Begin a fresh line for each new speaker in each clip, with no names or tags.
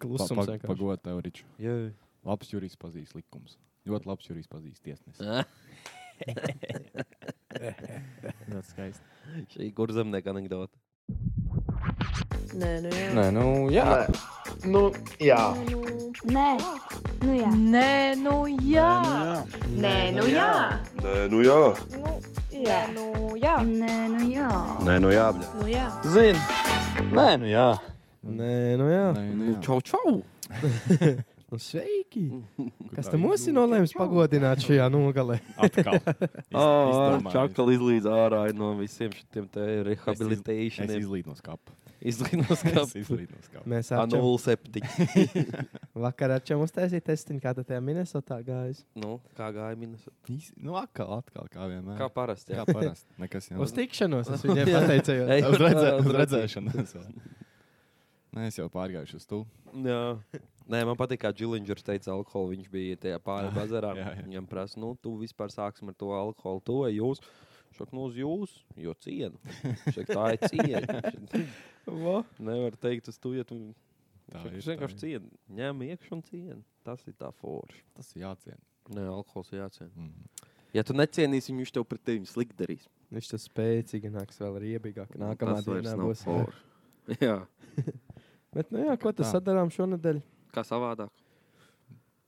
Klusums vienkārši.
Pagodā tev, Ričs.
Jā,
Labs jūrijas pazīst likums. Ļoti labs jūrijas pazīst tiesnesis.
ļoti skaisti.
Šī ir gurzemnieka anekdote.
Nē, nu jā.
Nē, nu jā.
Nē. Nu, jā.
Nē, nu jā.
Nē, nu jā.
Nē, nu jā.
Nē, nu jā,
Jā,
nu jā.
Nē, eh, nu jā.
nē, nu jā, bļa.
nu jā.
Zini, nē, nu jā.
Nē, nu jā.
Nē, nu jā.
Čau, čau!
Nu, sveiki!
Kur
Kas
tā
tam
ir?
mums ir nolēmis pagodināt šajā nogalē?
Atkal.
Ah,
Izdomāju.
čakal izlīdz ārā no visiem šiem te
Es
rehabilitācijiem.
izlīdu no skapa.
Izlīdz no
Es izlīdu no skapa.
Mēs ārčam,
skapa.
vakarā čem uztaisīja testiņu, kā tad tajā Minnesotā gājis.
Nu, kā gāja minus?
Iz- Nu, atkal, atkal, kā vienmēr.
Kā parasti. jā.
Kā parasti. Nekas jau
Uz tikšanos es viņai
Jā. Ej.
pateicējos.
Uz, redzē, uz
Uz
redzēšanas. Nē, es jau pārgājuši uz to.
Jā. Nē, man patīk, kā Džilingers teica, alkoholu. Viņš bija tajā pāri bazarā.
Ah, jā, jā.
Viņam prasa, nu, tu vispār sāksim ar to alkoholu. To jūs. Šok, nu, uz jūs, jo cienu. Šok, tā ir cieņa. Šak, Nevar teikt, uz to iet.
Tā
Šak,
ir,
es
tā
vienkārši cienu. Ņem iekšā un cienu. Tas ir tā forša.
Tas ir jāciena.
Nē, alkohols ir jāciena.
Mhm.
Ja tu necienīsi viņu, viņš tev pret tevi slikti darīs.
Viņš tas spēcīgi nāks vēl riebīgāk. Nākamā
Nu, Tas vairs
dienā
nav
būs.
forši. Jā,
Bet, nu jā, ko tas
Tā.
sadarām šonadēļ?
kā savādāk.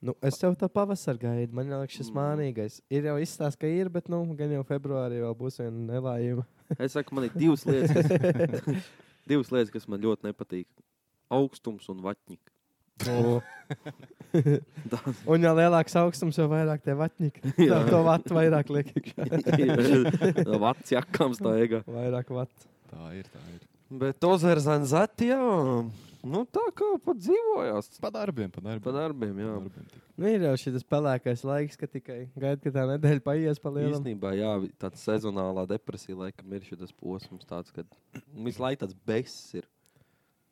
Nu, es jau tā pavasarī gaidu. Man liekas, šis
Mm.
mānīgais. Ir jau izstāsts, ka ir, bet, nu, gan jau februārī vēl būs viena nelaime.
Es saku, man ir divas lietas, kas, divas lietas, kas man ļoti nepatīk. Augstums un vatņika.
Nu. Un jau lielāks augstums, jau vairāk tie vatņiki.
Jā.
Jā, to vatu vairāk liek iekšā.
Vats jākams tā ega.
Vairāk vatu.
Tā ir. Tā ir.
Bet Ozers Zanzati, jā, nu tā kā pat dzīvojās.
Pa darbiem, pa darbiem.
Pa darbiem, jā.
Pa darbiem tik.
Nu, ir jau šis pelēkais laiks, ka tikai gaida, ka tā nedēļa paies pa lielam.
Īstenībā, jā, vi- tāda sezonālā depresija laikam ir šis posms, tāds, kad visu laiku tāds bess ir.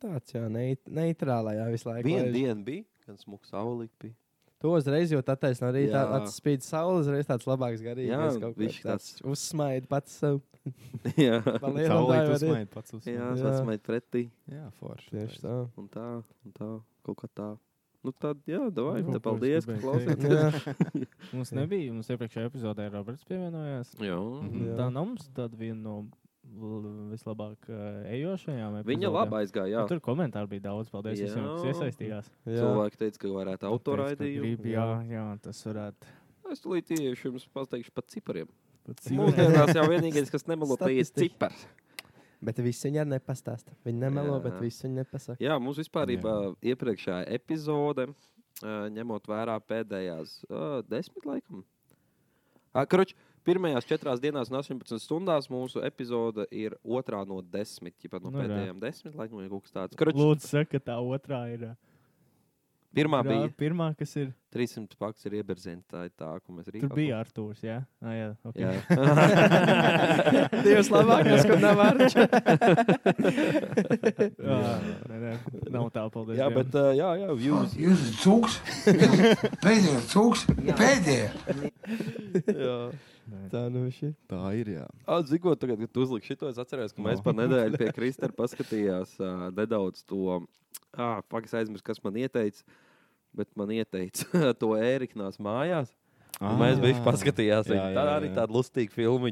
Tāds jau neit, neitrālā jā, visu laiku.
Vienu
laiž.
dienu bija, gan smuka saulīt bija.
To uzreiz jau tā taisno arī tā
Jā.
atspīd saule, uzreiz tāds labāks garīgais.
Jā,
kaut
viņš
kā
tāds-
Uzsmaid pats sev.
jā,
Pa lielam tā
Saulīt
jau arī.
uzmaini, pats uzmaini.
jā,
Jā.
sasmait pretī.
Jā, forši.
Tieši tā.
Un tā, un tā, kaut kā tā. Nu tad, jā, davai,
Nu, ko
te
es
paldies, ka
gribēju teikt?
klausāties.
Mums nebija, mums iepriekšējā epizodē Roberts pievienojās.
Jā.
Mhm.
Jā.
Tā nav mums tāda viena no l- vislabāk eh, ejošajām.
Viņa
epizodēm.
labi aizgāja.
Nu,
Jā.
Tur komentāri bija daudz. Paldies
Jā.
visiem, kas iesaistījās.
Jā.
Cilvēki teica, ka varētu autoraidījumu.
Gribu, jā, jā, tas varētu
Es tulīt tieši jums pateikšu par cipariem.
būt
Mūsdienās jau vienīgais, kas nemelo, tai ir
Statistika.
cipars.
Bet viss viņa nepastāsta. Viņa nemelo,
Jā.
bet viss viņa nepasaka.
Jā, mums vispār iepriekšējā epizode, eh, ņemot vērā pēdējās eh, desmit laikam. Ah, Kruč, pirmajās četrās dienās un 18 stundās mūsu epizode ir otrā no desmit. Ja pat no
Nu, jā.
pēdējām desmit laikam ir kaut kas tāds. Kruč,
Lūdzu, saka, tā otrā ir. eh,
pirmā
pirmā-
bija
Pirmā, kas ir.
300 paks ir ieberzinta, tā ir tā, ko mēs arī.
Tur bija Artūrs. Jā, ah, jā, okay.
Jā.
Divas labākās, ko nav vārds.
Ah, nē, nē, nav tā, paldies.
Jā,
Dievam.
bet eh, jā, jā, jūs.
Jūs esat cūks, pēdējais cūks, pēdējais.
Jā.
Tā nu viņš ir.
Tā ir, jā.
Atzigot, tagad, kad tu uzliki šo, es atceros, ka mēs par nedēļu pie Kristēna paskatījās uh, nedaudz to. Ah, Pagaidzi, aizmirsu, kas man ieteica. Bet man ieteica to Ēriknās mājās. Ah, mēs
jā.
bijām paskatījās.
Jā,
Jā,
jā,
jā, tā
jā,
arī
jā.
tāda lustīga filma.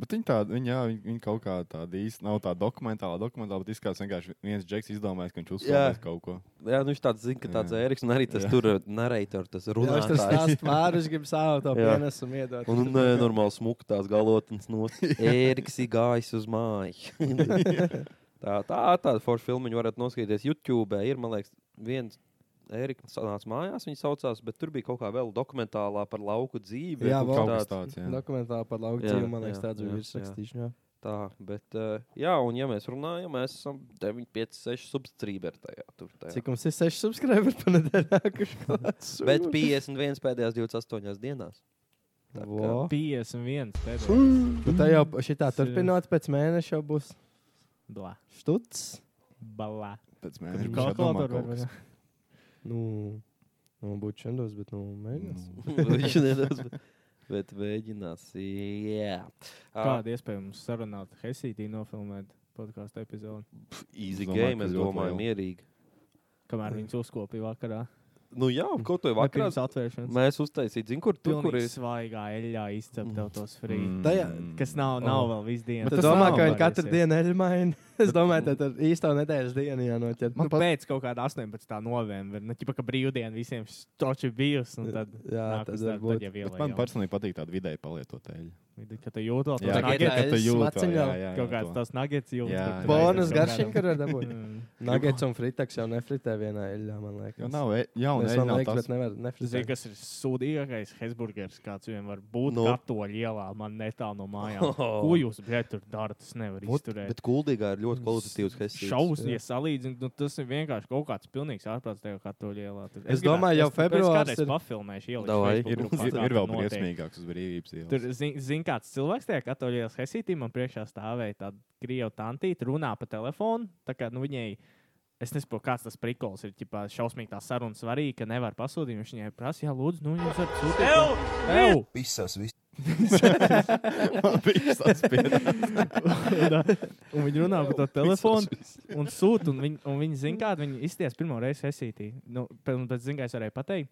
Bet viņi tāda, viņi, jā, viņi, viņi kaut kā tāda īsti nav tā dokumentāla, dokumentāla, bet izskatās vienkārši viens džeks izdomājis, ka viņš
Jā.
uzsvērs kaut ko.
Jā, nu viņš tāds zina, ka tāds
Jā.
Ēriks un arī tas
Jā.
jā. tur narrators, tas
Jā, viņš tur
runātājs.
stāsta vārus, grib savu to
Jā.
pienesumu iedot.
Un nu- nē, normāli smuka tās galotnes no Ēriks ir gājis uz māju. tā tā tāda forša filma, varat noskatīties YouTube. Ir, man liekas, viens Ēriks sanāca mājās, viņa saucās, bet tur bija kaut kā vēl dokumentālā par lauku dzīvi.
Jā,
kaut
vēl.
Kaut
kā
kas tāds,
tāds.
jā.
Dokumentāli par lauku
Jā,
dzīvi, man liekas,
jā,
tāds bija
jā,
virsrakstīšana.
Tā, bet, eh, jā, un ja mēs runājam, mēs esam 9, 5, 6 substrīberi tajā. Tur, tajā.
Cik mums ir 6 subscriberi pa nedēļu nākuši klāt?
Bet 51 pēdējās 28 dienās. tā kā-
Vo.
51. pēdējais.
Nu, tā jau šitā turpinot pēc mēneša jau būs
Blā.
štuts.
Balā.
Pēc
Tur
mēneša
ir
viņš atdomā
kalkulātori.
kaut
vai
kas.
ne?
Nu, nu būtu šendos, bet nu mēģinās.
Nu,
Viņš nedaudz, bet- bet mēģinās. Jā, Ah,
Kāda iespēja mums sarunāt Helsītī, nofilmēt podkāstu epizodi?
easy
domāju,
game,
ka
es
ļoti
domāju,
liela.
mierīgi.
kamēr viņas uzkopīja vakarā.
Nu jā, ko tu
Vai
vakarā
pirms atvēršanas?
Mēs uztaisījām, zinu, kur tu kur
Pilnīgi
esi.
svaigā eļļā izcept tev tos frī.
Mm.
Tajā-
Kas nav, nav vēl visu dienu.
Bet es domāju, ka viņi katru dienu ir maini. Es
nu-
domāju, ka tur īstā nedēļas diena jānoķer.
Man nu, pēc kaut kāda 18. novembra, nu, ķipa, ka brīvdiena visiem toči bijusi, un tad
Jā, tad
nākus darbu,
varbūt.
tad
Bet
jau
man
ielējām.
personīgi patīk tāda vidēji palietot eļļa.
Kad tu jūti, vēl
Jā,
tos
tā ir
kad-
nuggets,
kad tu
aiz
jūti to,
maciņām.
jā, jā,
kaut kāds
to.
tās nuggets jūti.
Jā,
kur tu
jā.
aizies
Bonus
kaut
garšīgi,
kādam.
kur var dabūt.
Mm.
Nagets un friteks jau nefritē vienā eļļā, man liekas.
Jo nav e-
Oh,
jauna
Es
eļļa,
man
nav
liekas,
tas.
bet nevar
Zini,
nefritēt.
kas ir sūdīgākais hesburgers, kāds vien var būt
Nu.
no. katoļa ielā, man netālu no mājām. Ko jūs, bļet, tur darat? Es nevaru
Vot,
izturēt.
Bet kuldīgā ir ļoti kvalitatīvs hesburgers.
Šausmas, ja salīdzinām, nu, tas ir vienkārši kaut kāds pilnīgs ārprāts tajā katoļa ielā. Tur-
Es domāju, jau februārs
Es
ir-
kādreiz pafilmēšu ielu.
Davai.
Ir, ir, ir vēl briesmīgāks uz brīvības
Tur,
ielas.
zini, zin, kāds cilvēks tajā katoļā Hesītī man priekšā stāvēja tāda krieva tantīte, runā pa telefonu. Tā kā nu, viņai, es nesaprotu, kāds tas prikols ir. Ķipā, šausmīgi tā saruna svarīga, ka nevar pasūtīt. Viņš viņai prasa, jā, lūdzu, nu, jūs varat sūtīt. Ew! Ew!
Visas, visas.
Man bija tas pierādījums.
un, uh, un viņi runā par to telefonu un sūta. Un viņi, un viņi zina, kāda viņa izties pirmo reizi esītī. Nu, pe- un pēc zināmā es varēju pateikt,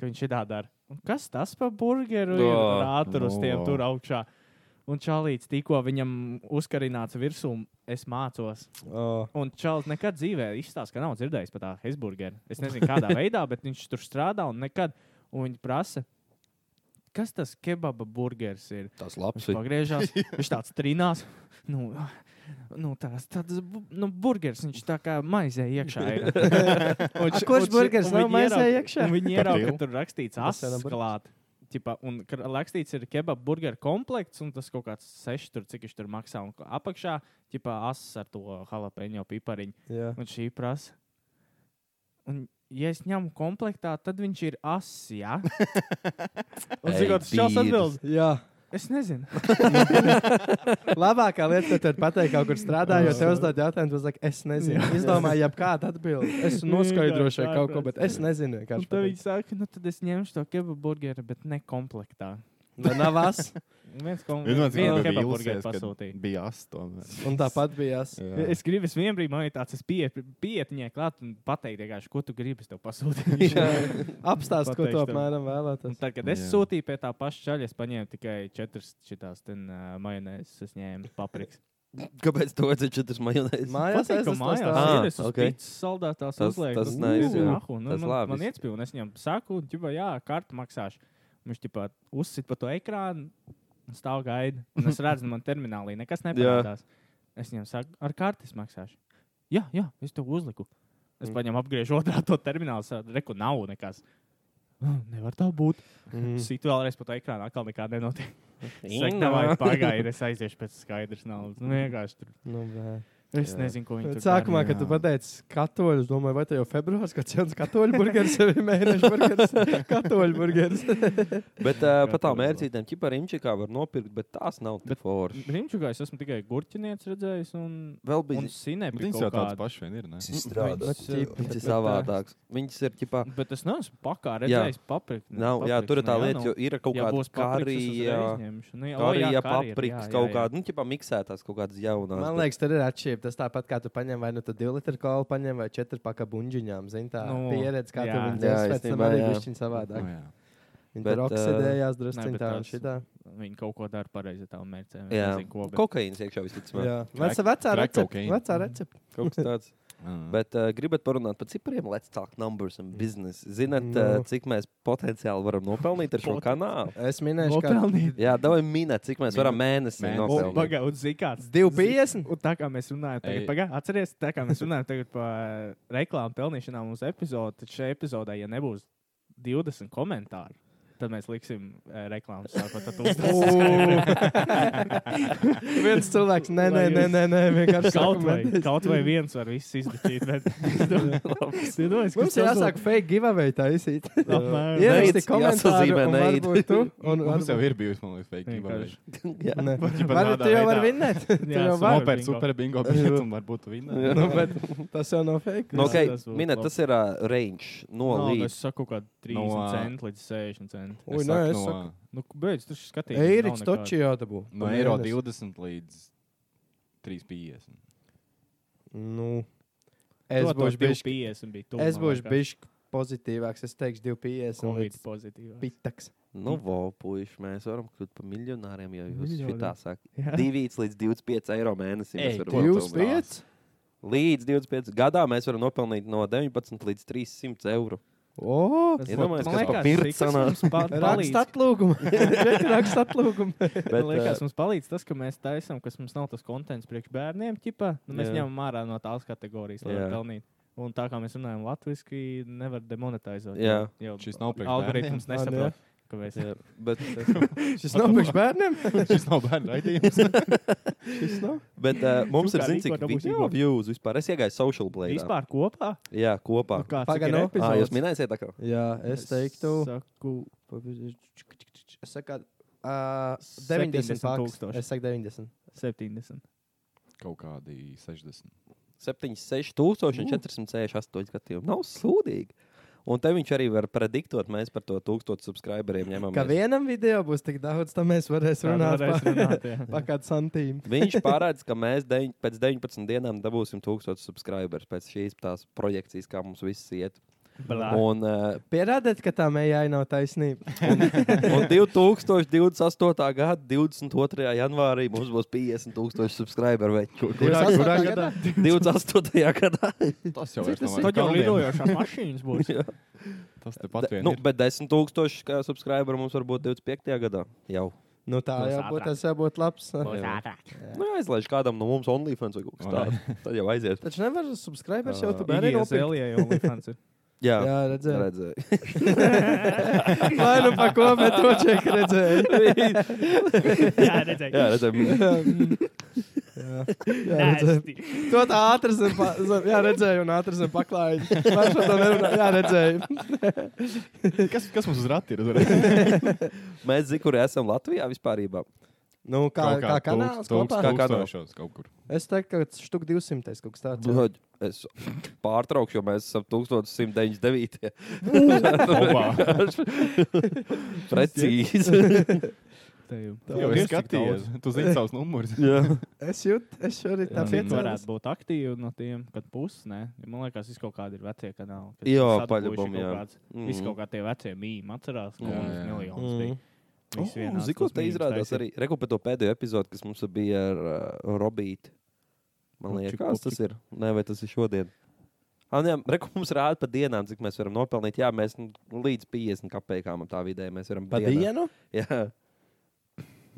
ka viņš ir tāds. Kas tas par burgeru ir
Dā,
ar ātrus tiem
no.
tur augšā? Un Čālijs tikko viņam uzkarināts virsū, es mācos.
Oh,
Un Čālijs nekad dzīvē izstāsta, ka nav dzirdējis par tādu hesburgeru. Es nezinu, kādā veidā, bet viņš tur strādā un nekad. Un viņi prasa, kas tas kebaba burgers ir?
Tas
Viņš
labs. ir.
pagriežās, viņš tāds trinās. Nu, nu tās, tāds bu- nu, burgers, viņš tā kā maizē iekšā. ir. Un viņš-
A, kurš
un viņš-
burgers
un
nav
viņi
maizē
ierauga-
iekšā?
un Viņi
Par
ierauga, ka
filmu?
tur
Tas
rakstīts
jau nav
asins
burgers.
klāt. Ķipa, un ka rakstīts ir kebab burgeru komplekts, un tas kaut kāds seši tur, cik viņš tur maksā. Un apakšā ķipā asins ar to jalapeņo pipariņu.
jā.
Un šī prasa. Un, ja es ņemu komplektā, tad viņš ir asis, jā? un
Ei,
cik tas šāds
bīdas.
atbildes?
jā.
Es nezinu.
Labākā lieta, ko tu vari pateikt, kaut kur strādājot, jo tev uzdod jautājumu, tu saki, es nezinu.
Jā.
Izdomāju, jebkādu atbildi. Es
Jā,
noskaidrošu vai
tā,
kaut ko, bet
protams.
es nezinu.
Un
vienkārši
tad
pateikt.
viņi saka, nu tad es ņemšu to kebabu burgeru, bet ne komplektā.
Vai Nav vas.
Un Viens kom-
Vienmēr
vienu
bija
kebabu burgeru
vīlusies,
pasūtīja.
kad bija asts tomēr.
Un tāpat bija jās.
Jā.
Es gribu, es vienā brīdī man ir tāds, es pietiņai klāt un pateikt, vienkārši, ko tu gribi, es tev pasūtīju.
Apstāst, ko tu
Pateikšu tev.
apmēram
Un
vēlētos.
tad, kad es
Jā.
sūtīju pie tā paša ceļa, es paņēmu tikai četras šitās ten, uh, majonēzes, es ņēmu paprikas.
Kāpēc tu esi četras majonēzes?
Mājās
Patīk,
es
ka
esmu
mājās
stāsts.
ir, es
Ah,
uz
ok.
pīcis saldētās
Tas-
uzlieku,
tas
un
nice,
ū,
jā.
āh, un
Tas
man-
labis.
Man iecpīja, un es viņam saku, un ģipa, jā, kartu maksāšu. Un Viņš ģipa, uzsit pa to ekrānu, un stāv gaida. Un es redzu, nu, man terminālī nekas neparādās. Es viņam saku, ar karti es maksāšu. Jā, jā, es to uzliku.
Mm.
Es paņemu apgriežu otrā to terminālu, sādu, reku nav nekas. "Ah, Nevar tā būt. Mm. Sīt vēlreiz pa to ekrānu, atkal nekā nenotiek. Saka, "Davai, Pagaidi, es aiziešu pēc skaidras naudas. Nu, vienkārši tur.
Nu, bē.
Es
Jā.
nezinu, ko viņi
Bet
tur dara.
Sākumā, kad tu
jā.
pateici katoļu, es domāju, vai tas jau februāris, kad jauns katoļu burgeris jau ir mēneša burgeris. Katoļu burgeris.
Bet uh, par tām
Katru dienu.
mērcītēm ķiparimčikā var nopirkt, bet tās nav tik
Bet-
foršas.
Brīnčukā es esmu tikai gurķinieks redzējis, un,
Vēl bija
un sinēpju.
Viņas jau tādas pašas vien ir. ne?
Viņš ir savādāks. Viņš ir ķipā.
Bet es neesmu pakā redzējis papriku.
Nav, jā, tur ir
nu
tā lieta, jo ir kaut kāda karija, karija, paprikas, kaut kāda, nu, ķipā miksētās kaut kādas jaunās.
Man liekas, tur ir atšķirība. Tas tāpat kā tu paņem vai nu 2 litru kolu, paņem vai 4 paka buļģiņām. Zini, tā
Nu,
no, pieredze, kā
jā.
tu viņu
Jā,
dzēsi, pēc tam
īstenībā,
arī
jā. Mm.
bišķiņ savādāk.
Nu, jā.
Viņi
Bet, uh,
tur
ā,
oksidējās drusku
bet
tā un
tās-
šitā.
Viņi kaut ko dara pareizi ar tām mērķiem.
Jā,
ko.
kokaīns iekšā visticamāk.
Jā, vecā,
Crack-
vecā
crack
recepte.
cocaine.
Vecā recepte.
Kaut kas tāds.
Mm.
Bet uh, gribat parunāt par cipriem, let's talk numbers and business. Zinat,
Nu.
uh, cik mēs potenciāli varam nopelnīt ar šo kanālu?
Es minēju, ka
Nopelnīt.
Jā, davai minēt, cik mēs varam mēnesī
Mēnesi.
nopelnīt.
Pagaidām, zikāts.
250.
Un tā kā mēs runājam, tagad,
Ei.
pagaid, atceries, tā kā mēs runājam tagad par eh, reklāmu pelnīšanām uz epizodu, tad šajā epizodē, ja nebūs 20 komentāru, tad mēs liksim eh, reklāmas sākot ar to.
Viens cilvēks, nē, nē, nē, nē, nē vienkārši
Kaut vai,
komentēs.
kaut vai viens var viss izdarīt. Bet... Es domāju, ka
Mums ir jāsāk fake giveaway taisīt.
Apmēram.
Ieraksti
Neids,
komentāru,
jāsazīmē
un
neids.
varbūt tu. Nu, un
Mums jau
varbūt-
ir bijusi, man liekas, fake giveaway.
Vienkārši.
Jā.
Nē.
Ķipa
Vari-
tādā
Tu jau
veidā.
vari vinnēt. Tu
Jā,
jau
super.
vari.
Nopērk
bingo.
super bingo biļeti un varbūt vinēt.
Nu, bet tas jau nav fake.
Nu, okay,
tas būtu
minēt,
labi.
tas ir uh, range no
No,
līdz.
es saku, ka 30 no,
No, ā.
centi līdz 60 centi.
Ui, nē, es saku.
Nu, k- beidz, tu skaties.
Eiriks toči jādabū.
No eiro 20 līdz 3,50.
Nu, Es
To, to
būšu bišķi-
2,50 bija tu,
Es
man
būšu
liekas.
bijis pozitīvāks. Es teikšu, 2,5 un
Covid
līdz
pozitīvāks.
pitaks.
Nu, vopuši, mēs varam kļūt par miljonāriem, ja jūs
Miljoni.
šitā sakat.
Jā.
2 līdz 25 eiro
Ei,
mēnesī. mēs varam
25?
nopelnīt. Līdz 25 gadā mēs varam nopelnīt no 19 līz 300 eiro.
O,
Iedomājieties,
Man
kas
liekas,
pa
cik tas mums
pircana.
pa- palīdz.
Raksta atlūgumu. Raksta atlūgumu.
Bet,
Bet, liekas,
eh,
mums palīdz tas, ka mēs taisām, kas mums nav tas konteksts priekš bērniem. Ķipa, nu, mēs
Jā.
ņemam ārā no tās kategorijas, lai
Jā.
varētu pelnīt. Un tā kā mēs runājam latviešu, nevar demonetizēt.
Jā.
jau
Šis nav priekš
algoritms
bērniem.
nesaprot, ka mēs
Jā, eh, Bet,
Šis nav priekš bērniem.
Šis nav bērnu raidījums.
Šis nav.
bet uh, mums
Tu
ir
kā
zināms,
rīko
cik
dabūsi
video
iegūt.
views vispār. Es iegāju social blade.
vispār kopā.
Jā, kopā.
Nu, Kāds
Pagaid,
ir
nu.
epizodes?
Ā, Ah, jūs minējāt, tā kā.
Jā, es teiktu.
Saku,
Es saku, ā, 90
70
paks.
tūkstoši.
Es saku 90.
70.
Kaut kādi 60.
7668 gadījumi. Nav sūdīgi. Un te viņš arī var prediktot, mēs par to 1000 subscriberiem ņemam.
Ka vienam video būs tik daudz, tad mēs varēsim
Tad
runāt
varēs runāt, jā.
par kādu santīmu.
Viņš parāda, ka mēs deviņ, pēc 19 dienām dabūsim 1000 subscriberus pēc šīs tās projekcijas, kā mums viss iet.
Blā.
Un, uh,
Pierādiet, ka tā mējai nav taisnība.
un 2028. gada 22. janvārī mums būs 50,000 subscriberu.
Kurā- kurā gadā?
28. gadā.
Tas jau
Cik
ir.
tas ir?
Tad jau lidojošās mašīnas būs.
Jā.
Tas tepat
De-
vien.
nu,
ir.
bet 10,000 kā subscriberu mums var būt 25. gadā. Jau.
Nu, tā
Būs
jau būtu,
ātrāk.
tas jau būtu labs. ne?
Būs
Jā.
ātrāk.
Nu, aizlaiž kādam no mums OnlyFans vai kaut kas
Vai
tāds. Tad jau aiziet.
Taču nevar subscribers jau
Ā,
tur arī
Arī
nopirkt.
Elija jau Lifans ir.
Jā,
Jā, redzēju.
redzēju.
Vai nu pa ko, bet to čeku redzēju.
Jā, redzēju.
Jā, redzēju.
Jā, jā redzēju. To tā ātri zem, pa- zem- jā, redzēju, un ātri zem paklājiņa. Vairs par to nerunā. Jā, redzēju.
Kas, kas mums uz rati ir? uzreiz?
Mēs zinām, kur esam Latvijā vispār.
Nu, kā,
Kaut
kā kanāls
tūkst- tūkst-
kopā?
Kā kanāls.
tūkstošos kaut kur.
Es teiktu, ka štuk 200 kaut kas tāds. jā.
Bļaģ, Es pārtraukšu, jo mēs esam 1199.
Opa.
Precīzi.
Tā
Jā,
jau
es
ir.
skatījos. Tu zini savus numurus.
Es jūtu, es šorīt tā
Jā.
Viņi
piecēlos.
varētu būt aktīvi no tiem, kad puses, ne? Ja Man liekas, viss kaut kādi ir vecie kanāli. kad
Jā,
sadabūjuši
paļabam,
kaut
jā. Mhm.
kāds-
Mm.
Visi kaut kā tie vecie mīmī atcerās, ka
Jā,
mums
jā.
miljonus bija.
Mm.
Visi vienāds
Zinu, Oh, ko
tos
te
mīmus
izrādās
taisīt.
arī. Rekupēt to pēdējo epizodi, kas mums bija ar uh, Robītu. Man
Upčik,
liekas, kāds tas
upčik.
ir. Nē, vai tas ir šodien? Ah, jā, reku mums rāda pa dienām, cik mēs varam nopelnīt. Jā, mēs nu, līdz 50 kapekām ap tā vidē mēs varam
Pa
dienā.
dienu?
Jā.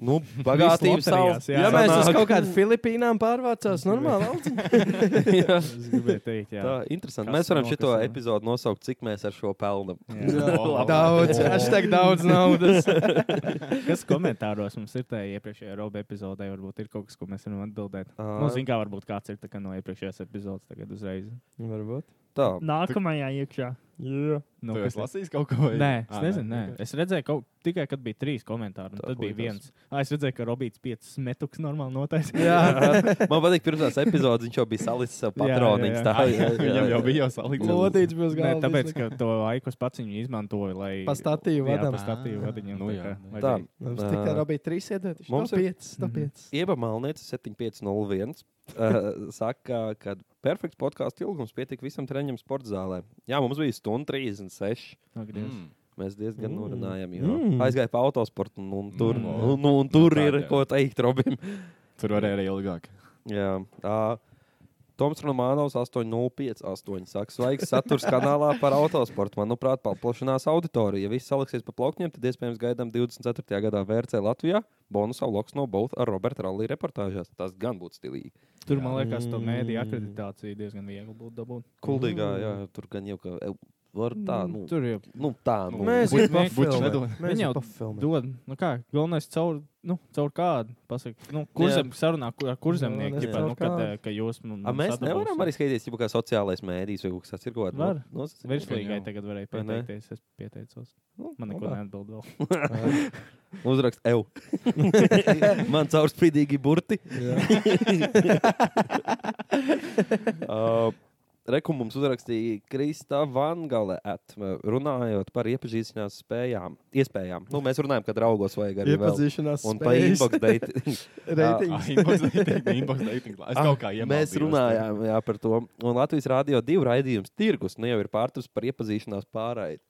Nu, bagātības
loterijās,
savs.
jā.
Ja mēs uz
sanāk.
kaut kādu Filipīnām pārvācās, normāli valsts.
Jā.
Es gribēju teikt, jā.
Tā ir interesanti.
Kas
Mēs varam
nav,
šo
kas nav.
epizodu nosaukt, cik mēs ar šo pelnām.
Jā.
Daudz, hashtag daudz naudas.
Kas komentāros mums ir tajā iepriekšējā roba epizodē, varbūt ir kaut kas, ko mēs varam atbildēt.
Ā.
Nu, zin kā varbūt kāds ir tā kā no iepriekšējās epizodes tagad uzreiz.
Varbūt.
Tā,
Nākamajā
Jā.
iekšā. Nu,
Nu, tu
kas
esi lasījis kaut ko? vai- Ah,
Nē, es
Ā,
nezinu. Nē. Es redzēju, ka tikai kad bija trīs komentāri, un
Tā
tad bija
puikas.
viens. Ah, es redzēju, ka Robīts piecas metuks normāli notaisīja.
Jā.
man patīk, pirmās epizodes viņš jau bija salicis sev
Jā, jā,
patroniņus.
jā.
Tā jā, jā,
Viņam jau
jā.
bija jau salikts.
Lodīts bez
Nē,
galvas.
tāpēc, ka to laikus pats viņi izmantoja, lai.
Pa statīvu
Jā,
vadam.
pa
Ah.
statīvu vadam.
Nu
Nu,
jā,
jā,
nu
tā
Tā,
ir.
Mums
Ā.
tikai bija trīs iedot.
Mums
Mums
ir-
ir pieci.
Mhm.
Tāpēc.
Ieba Malnieca 7501 uh, saka, ka perfekts podkāstu ilgums pietika visam treniņam sporta zālē. Jā, mums bija stunda 36.
Mm.
Mēs diezgan
Mm.
norunājām, jo
Mm.
aizgāja pa autosportu, nu, un tur,
Mm.
nu, nu, un tur
Nu, tā
ir
jau.
ko teikt Robim.
Tur varēja arī ilgāk.
Jā, tā. Toms Romanovs 8,058. Saka, svaigs saturs kanālā par autosportu. Manuprāt, paplašinās auditorija. Ja viss saliksies pa plaukniem, tad iespējams gaidām 24. gadā VRC Latvijā. Bonusā loks no Bolta ar Roberta Rallija reportāžās. Tas gan būtu stilīgi.
Tur man liekas, to mēdīju akreditāciju diezgan viegli būtu dabūt.
Kuldīgā, jā, tur gan jau ka e, var tā, nu,
Tur jau
nu tā, nu.
Mēs jau
Buč-
buč-
nedod.
pafilmējam. Mēs
Viņi
jau
jau
pafilmējam.
dod. Nu kā, galvenais caur, nu, caur kādu. Pasaka, nu, kurzem, sarunā ku- ar kurzemnieku,
Galvenais
ģipā,
caur
nu, kad,
kādu.
eh, ka jūs mums.
A, mēs nevaram arī skatīties, ja kā sociālais mēdījis vai kaut kas tāds ir. Ko,
Var.
No, no,
Virslīgai tagad varēja
Vai ne?
pieteikties. Es pieteicos.
Nu,
Man neko neatbild vēl.
uzrakst, eju. Man caurspīdīgi burti. Uh, Reku mums uzrakstīja Krista Vangale, at, runājot par iepazīšanās spējām, iespējām. Nu, mēs runājam, ka draugos vajag arī vēl.
Iepazīšanās
un par
spējas.
inbox dating.
Ratings.
Ah,
Inbox dating, inbox dating. Es
Ah,
kaut kā iemācījos.
Mēs runājām jā, par to. Un Latvijas rādio divu raidījumu tirgus nu jau ir pārtaps par iepazīšanās pārraidi.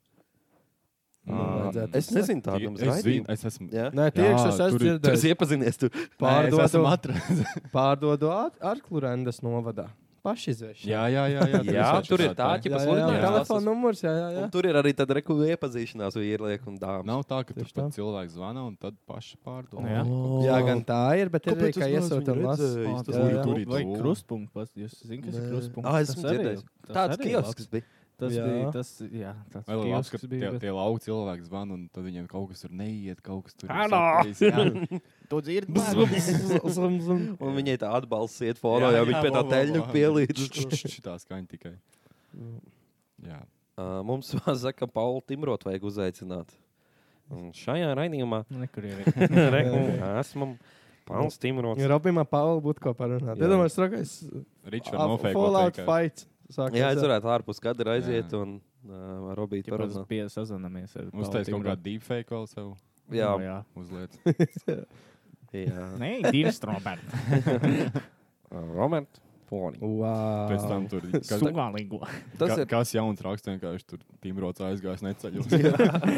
Ah,
Nu, vajadzētu
Es nezinu, tādu mums
Es zinu,
raidījumu.
es esmu.
Jā?
Nē, tie
Jā,
ir es esmu
tur ir-
Tu esi
dzirdējis.
iepazinies, tu
Pārdodas. Es
Pārdodu,
esmu atradzis.
pārdodu Arklurendas novadā. Pašizvēršana.
Jā, jā, jā. jā,
Jā,
izvēršas
tur ir
tā,
tā,
tā.
ķipa
jā, jā,
sludinājums.
jā. Telefona numurs, jā, jā, jā.
Un tur ir arī tāda rekurija iepazīšanās vīrieliek un dāmas.
Nav tā, ka tur
Tieši tā.
pat cilvēks zvana un tad paši pārdomā.
Jā.
Jā, gan tā ir, bet ir arī
Kāpēc
kā
es neesmu
iesūta
viņu
lasa.
redzējis?
Ā,
Jā,
ir
jā.
kru-
Tur ir
vai
dūma.
krustpunkts. pas- Jūs zināt, kas ir
Nē.
krustpunkts?
Ā, es esmu
Tas arī-
dzirdējis.
tas
Tāds
arī
kiosks
labs.
bija.
Tas
Jā.
bija tas, jā, tas
Vai labi, ka
kiosks
tie,
bija. bet-
tie lauki cilvēki zvana, un tad viņiem kaut kas tur neiet, kaut kas tur ir
Halo!
sakrājis, jā.
Tu dzirdi?
Zum, zum.
Un viņai tā atbalsts iet fonā, jau viņa pie tā teļņa pielīdz.
Šitā skaņa tikai. Jā.
Ā, Ah, Mums saka, ka Paulu Timrotu vajag uzaicināt. Un šajā raidījumā
nu, Nekur ir.
reku, esmu Pauls Timrots.
Robimā Pāvila būtu ko parunāt.
Jā.
Es domāju, strakais.
Ričs var
Ah, Fallout
nofēkot.
fight. sākās
Jā, es
ar-
varētu ārpus kadra aiziet un uh, robīt
Tāpēc mēs
parunāt.
piesazināmies ar
Uztais
Paulu
kaut kādu
Timrotu.
deepfake vēl sev
Jā,
jā.
uzliet.
jā.
Nē, Dīns Roberts.
Robert Foni.
Wow.
Pēc tam tur kas,
Sugalīgo.
Tas
ka,
ir
kas jauns raksts vienkārši tur tīmrots aizgājis neceļos.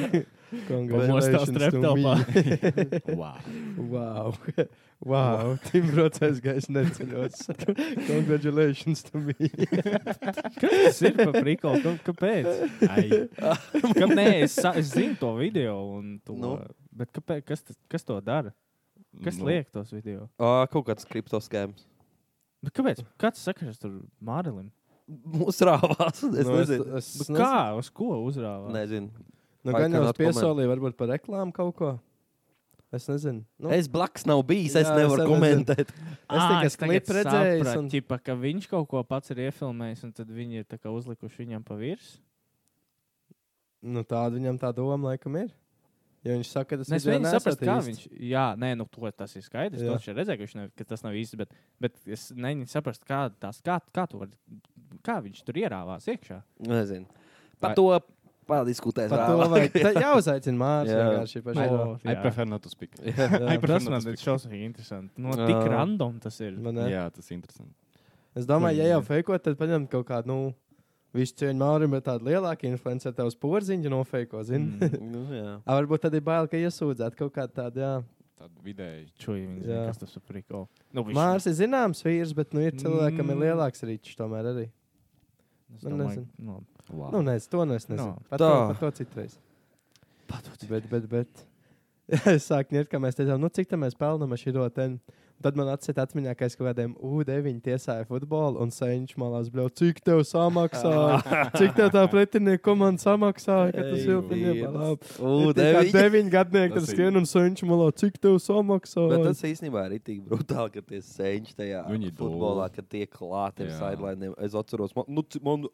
Congratulations
Pamostās
to
treptelpā.
me.
Wow.
Wow. Wow. Tim Rotsais gais neceļos. Congratulations to me.
Kas ir par prikolu? Kam- Kāpēc? Ai. Kam, nē, es, sa- es zinu to video, un to, nu.
Nu.
bet kāpēc, kas, tas- kas to dara? Kas nu. liek tos video?
ā, kaut kāds kriptoskēms.
Bet kāpēc? Kāds sakars tur Mārilim?
Mūsu rāvās. Es
Nu,
nezinu.
es-
Bet kā? Uz ko uzrāvā?
Nezinu.
Nu,
I
gan jau
cannot
es piesolīju, varbūt par reklāmu kaut ko. Es nezinu. Nu,
Es blakus nav bijis, es
Jā, es
nevaru
arī nezinu.
komentēt.
Es tikai klipu redzēju,
sapratu,
un-
ķipa, ka viņš kaut ko pats ir iefilmējis, un tad viņi ir tā kā uzlikuši viņam pa virsmu.
nu, tāda viņam tā doma laikam ir. Jo viņš saka, tas
Nē, Es
video
vienkārši
nesat
saprotu, kā
īsti.
viņš. Jā, nē, nu, to, tas ir skaidrs.
Jā.
Jā. Es redzēju, ka, viņš nav, ka tas nav īsti. Bet, bet es neņemu saprast, kā, tās, kā, kā, tu vari, kā viņš tur ierāvās iekšā.
Nezinu.
Vai-
Par to padiskutēsim.
Par to vajag. Tā jāuzaicina Mārcis
Jā.
vienkārši par šo.
I prefer not to speak.
Jā.
I prefer
Tas
not to
man ir
speak.
šausmīgi interesanti. No
Jā.
tik random tas ir.
Vai ne?
Jā, tas ir interesanti.
eh, Es domāju, ja jau fejkot, tad paņem kaut kādu, nu, visu cieņu Mārim, bet tādu lielāku influenceru tev uz porziņu nofejko, zini? Mm.
Nu, jā.
varbūt tad ir bail, ka iesūdzēt kaut kādu tādu, jā.
Tad vidēji.
Čuji, viņi zina,
Jā.
kas tas ir priko. Nu, viņš-
Mārs ir zināms vīrs, bet, nu, ir cilvēkam ir
Mm.
lielāks rīčs tomēr arī.
es
nu,
domāju,
nezinu.
nu,
Nu, nezinu, to nu es nezinu.
No.
No. Par, to,
Tā.
par to citreiz. Bet, bet, bet. Es sāku ņirt, ka mēs teicām, nu cik tā mēs pelnām šo ten. Un Tad man atsita atmiņā, ka es kaut kādiem U9 tiesāju futbolu, un Sēņš malās bļauj, cik tev samaksāja, cik tev tā pretinieka komanda samaksāja, ka tas
Ei,
jau bija
Dievs.
labi.
U,
Kā
deviņi.
deviņi gadnieki tur
Tas ir-
skrien, un Sēņš malā, cik tev
Bet
samaksāja.
tas īstenībā ir tik brutāli, ka tie sēņķi tajā
Viņi dūl.
futbolā, ka tie klāti ar
Jā.
sideliniem. Es atceros, man, nu, ci- man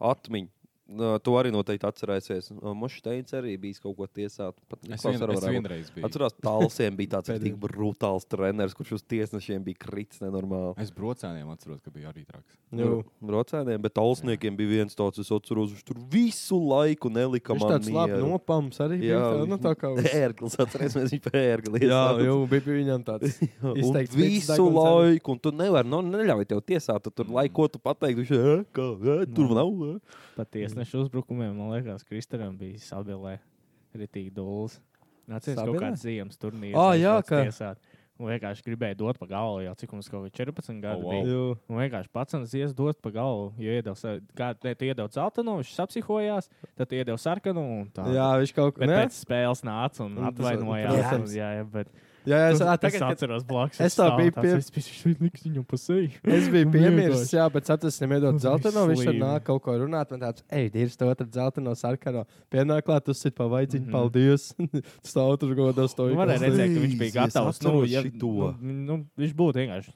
atmiņa. Nā, To arī noteikti atcerēsies. Mašīns arī bija kaut ko tiesāt. Pat
Es,
Niklaus
vien,
arī
es
varētu-
vienreiz biju.
Atcerās, Talsiem bija tāds
Pēdējais.
tik brutāls treneris, kurš uz tiesnešiem bija krits nenormāli.
Es brocēniem atceros, ka bija arī traks.
Nu,
Jū.
Brocēniem, bet Talsniekiem bija viens tāds, es atceros, viņš tur visu laiku nelika
Viņš
man
tāds labi
mieru.
nopams arī bija.
Jā,
tā, Nu, tā kā uz-
Ērglis, atcerēsimies viņu par ērgli.
Jā, jau bija bija viņam tāds.
Un
Izteikts micis
visu
deguns arī.
laiku, un tu nevari, nu, neļauj tev tiesāt, tad tur laiku, ko tu pateiksi, viņš ir, kā, e, tur nav. e."
Patiesi nešu uzbrukumiem, man liekas, Kristānam bija sabilē ritīgi dūlis. Nācies kaut
Sabilē?
kāds ziemas turnīrs.
Ā,
viņš
jā,
vāc
ka-
tiesāt. Un vienkārši gribēju dot pa galvu, jau cik mums kaut kā 14
Oh,
gadi oh,
wow.
Nu,
wow. bija.
Jū.
Un vienkārši pats ies dot pa galvu, jo iedevis, kāda te iedeva zeltainu, viņš apsihojās, tad iedeva sarkanu un tā.
Jā, viņš kaut
Bet
kā.
pēc spēles nāca un
Un tas-
atvainojās. Jā,
protams.
jā, jā bet
Jā, jā, es
tas-
ā,
tas
tagad, kad-
atceros blakus.
es tā biju pie-
Es biju pie viņam pasēju.
Es biju
Un
piemiris,
vienkārši.
jā, bet saprast, viņam iedod
Un
zeltaino, viņš tur
slīvi.
nāk kaut ko runāt, man tāds, ej, dīrs, to tad zeltaino sarkano. Pienāk klāt, tas ir pavaidziņ,
Mhm.
paldies. Stāv tur godos to.
Nu, Varēja redzēt, ka viņš bija
Līdzi, es
gatavs. Nu,
atceros
ja, nu,
šito.
nu, viņš būtu vienkārši.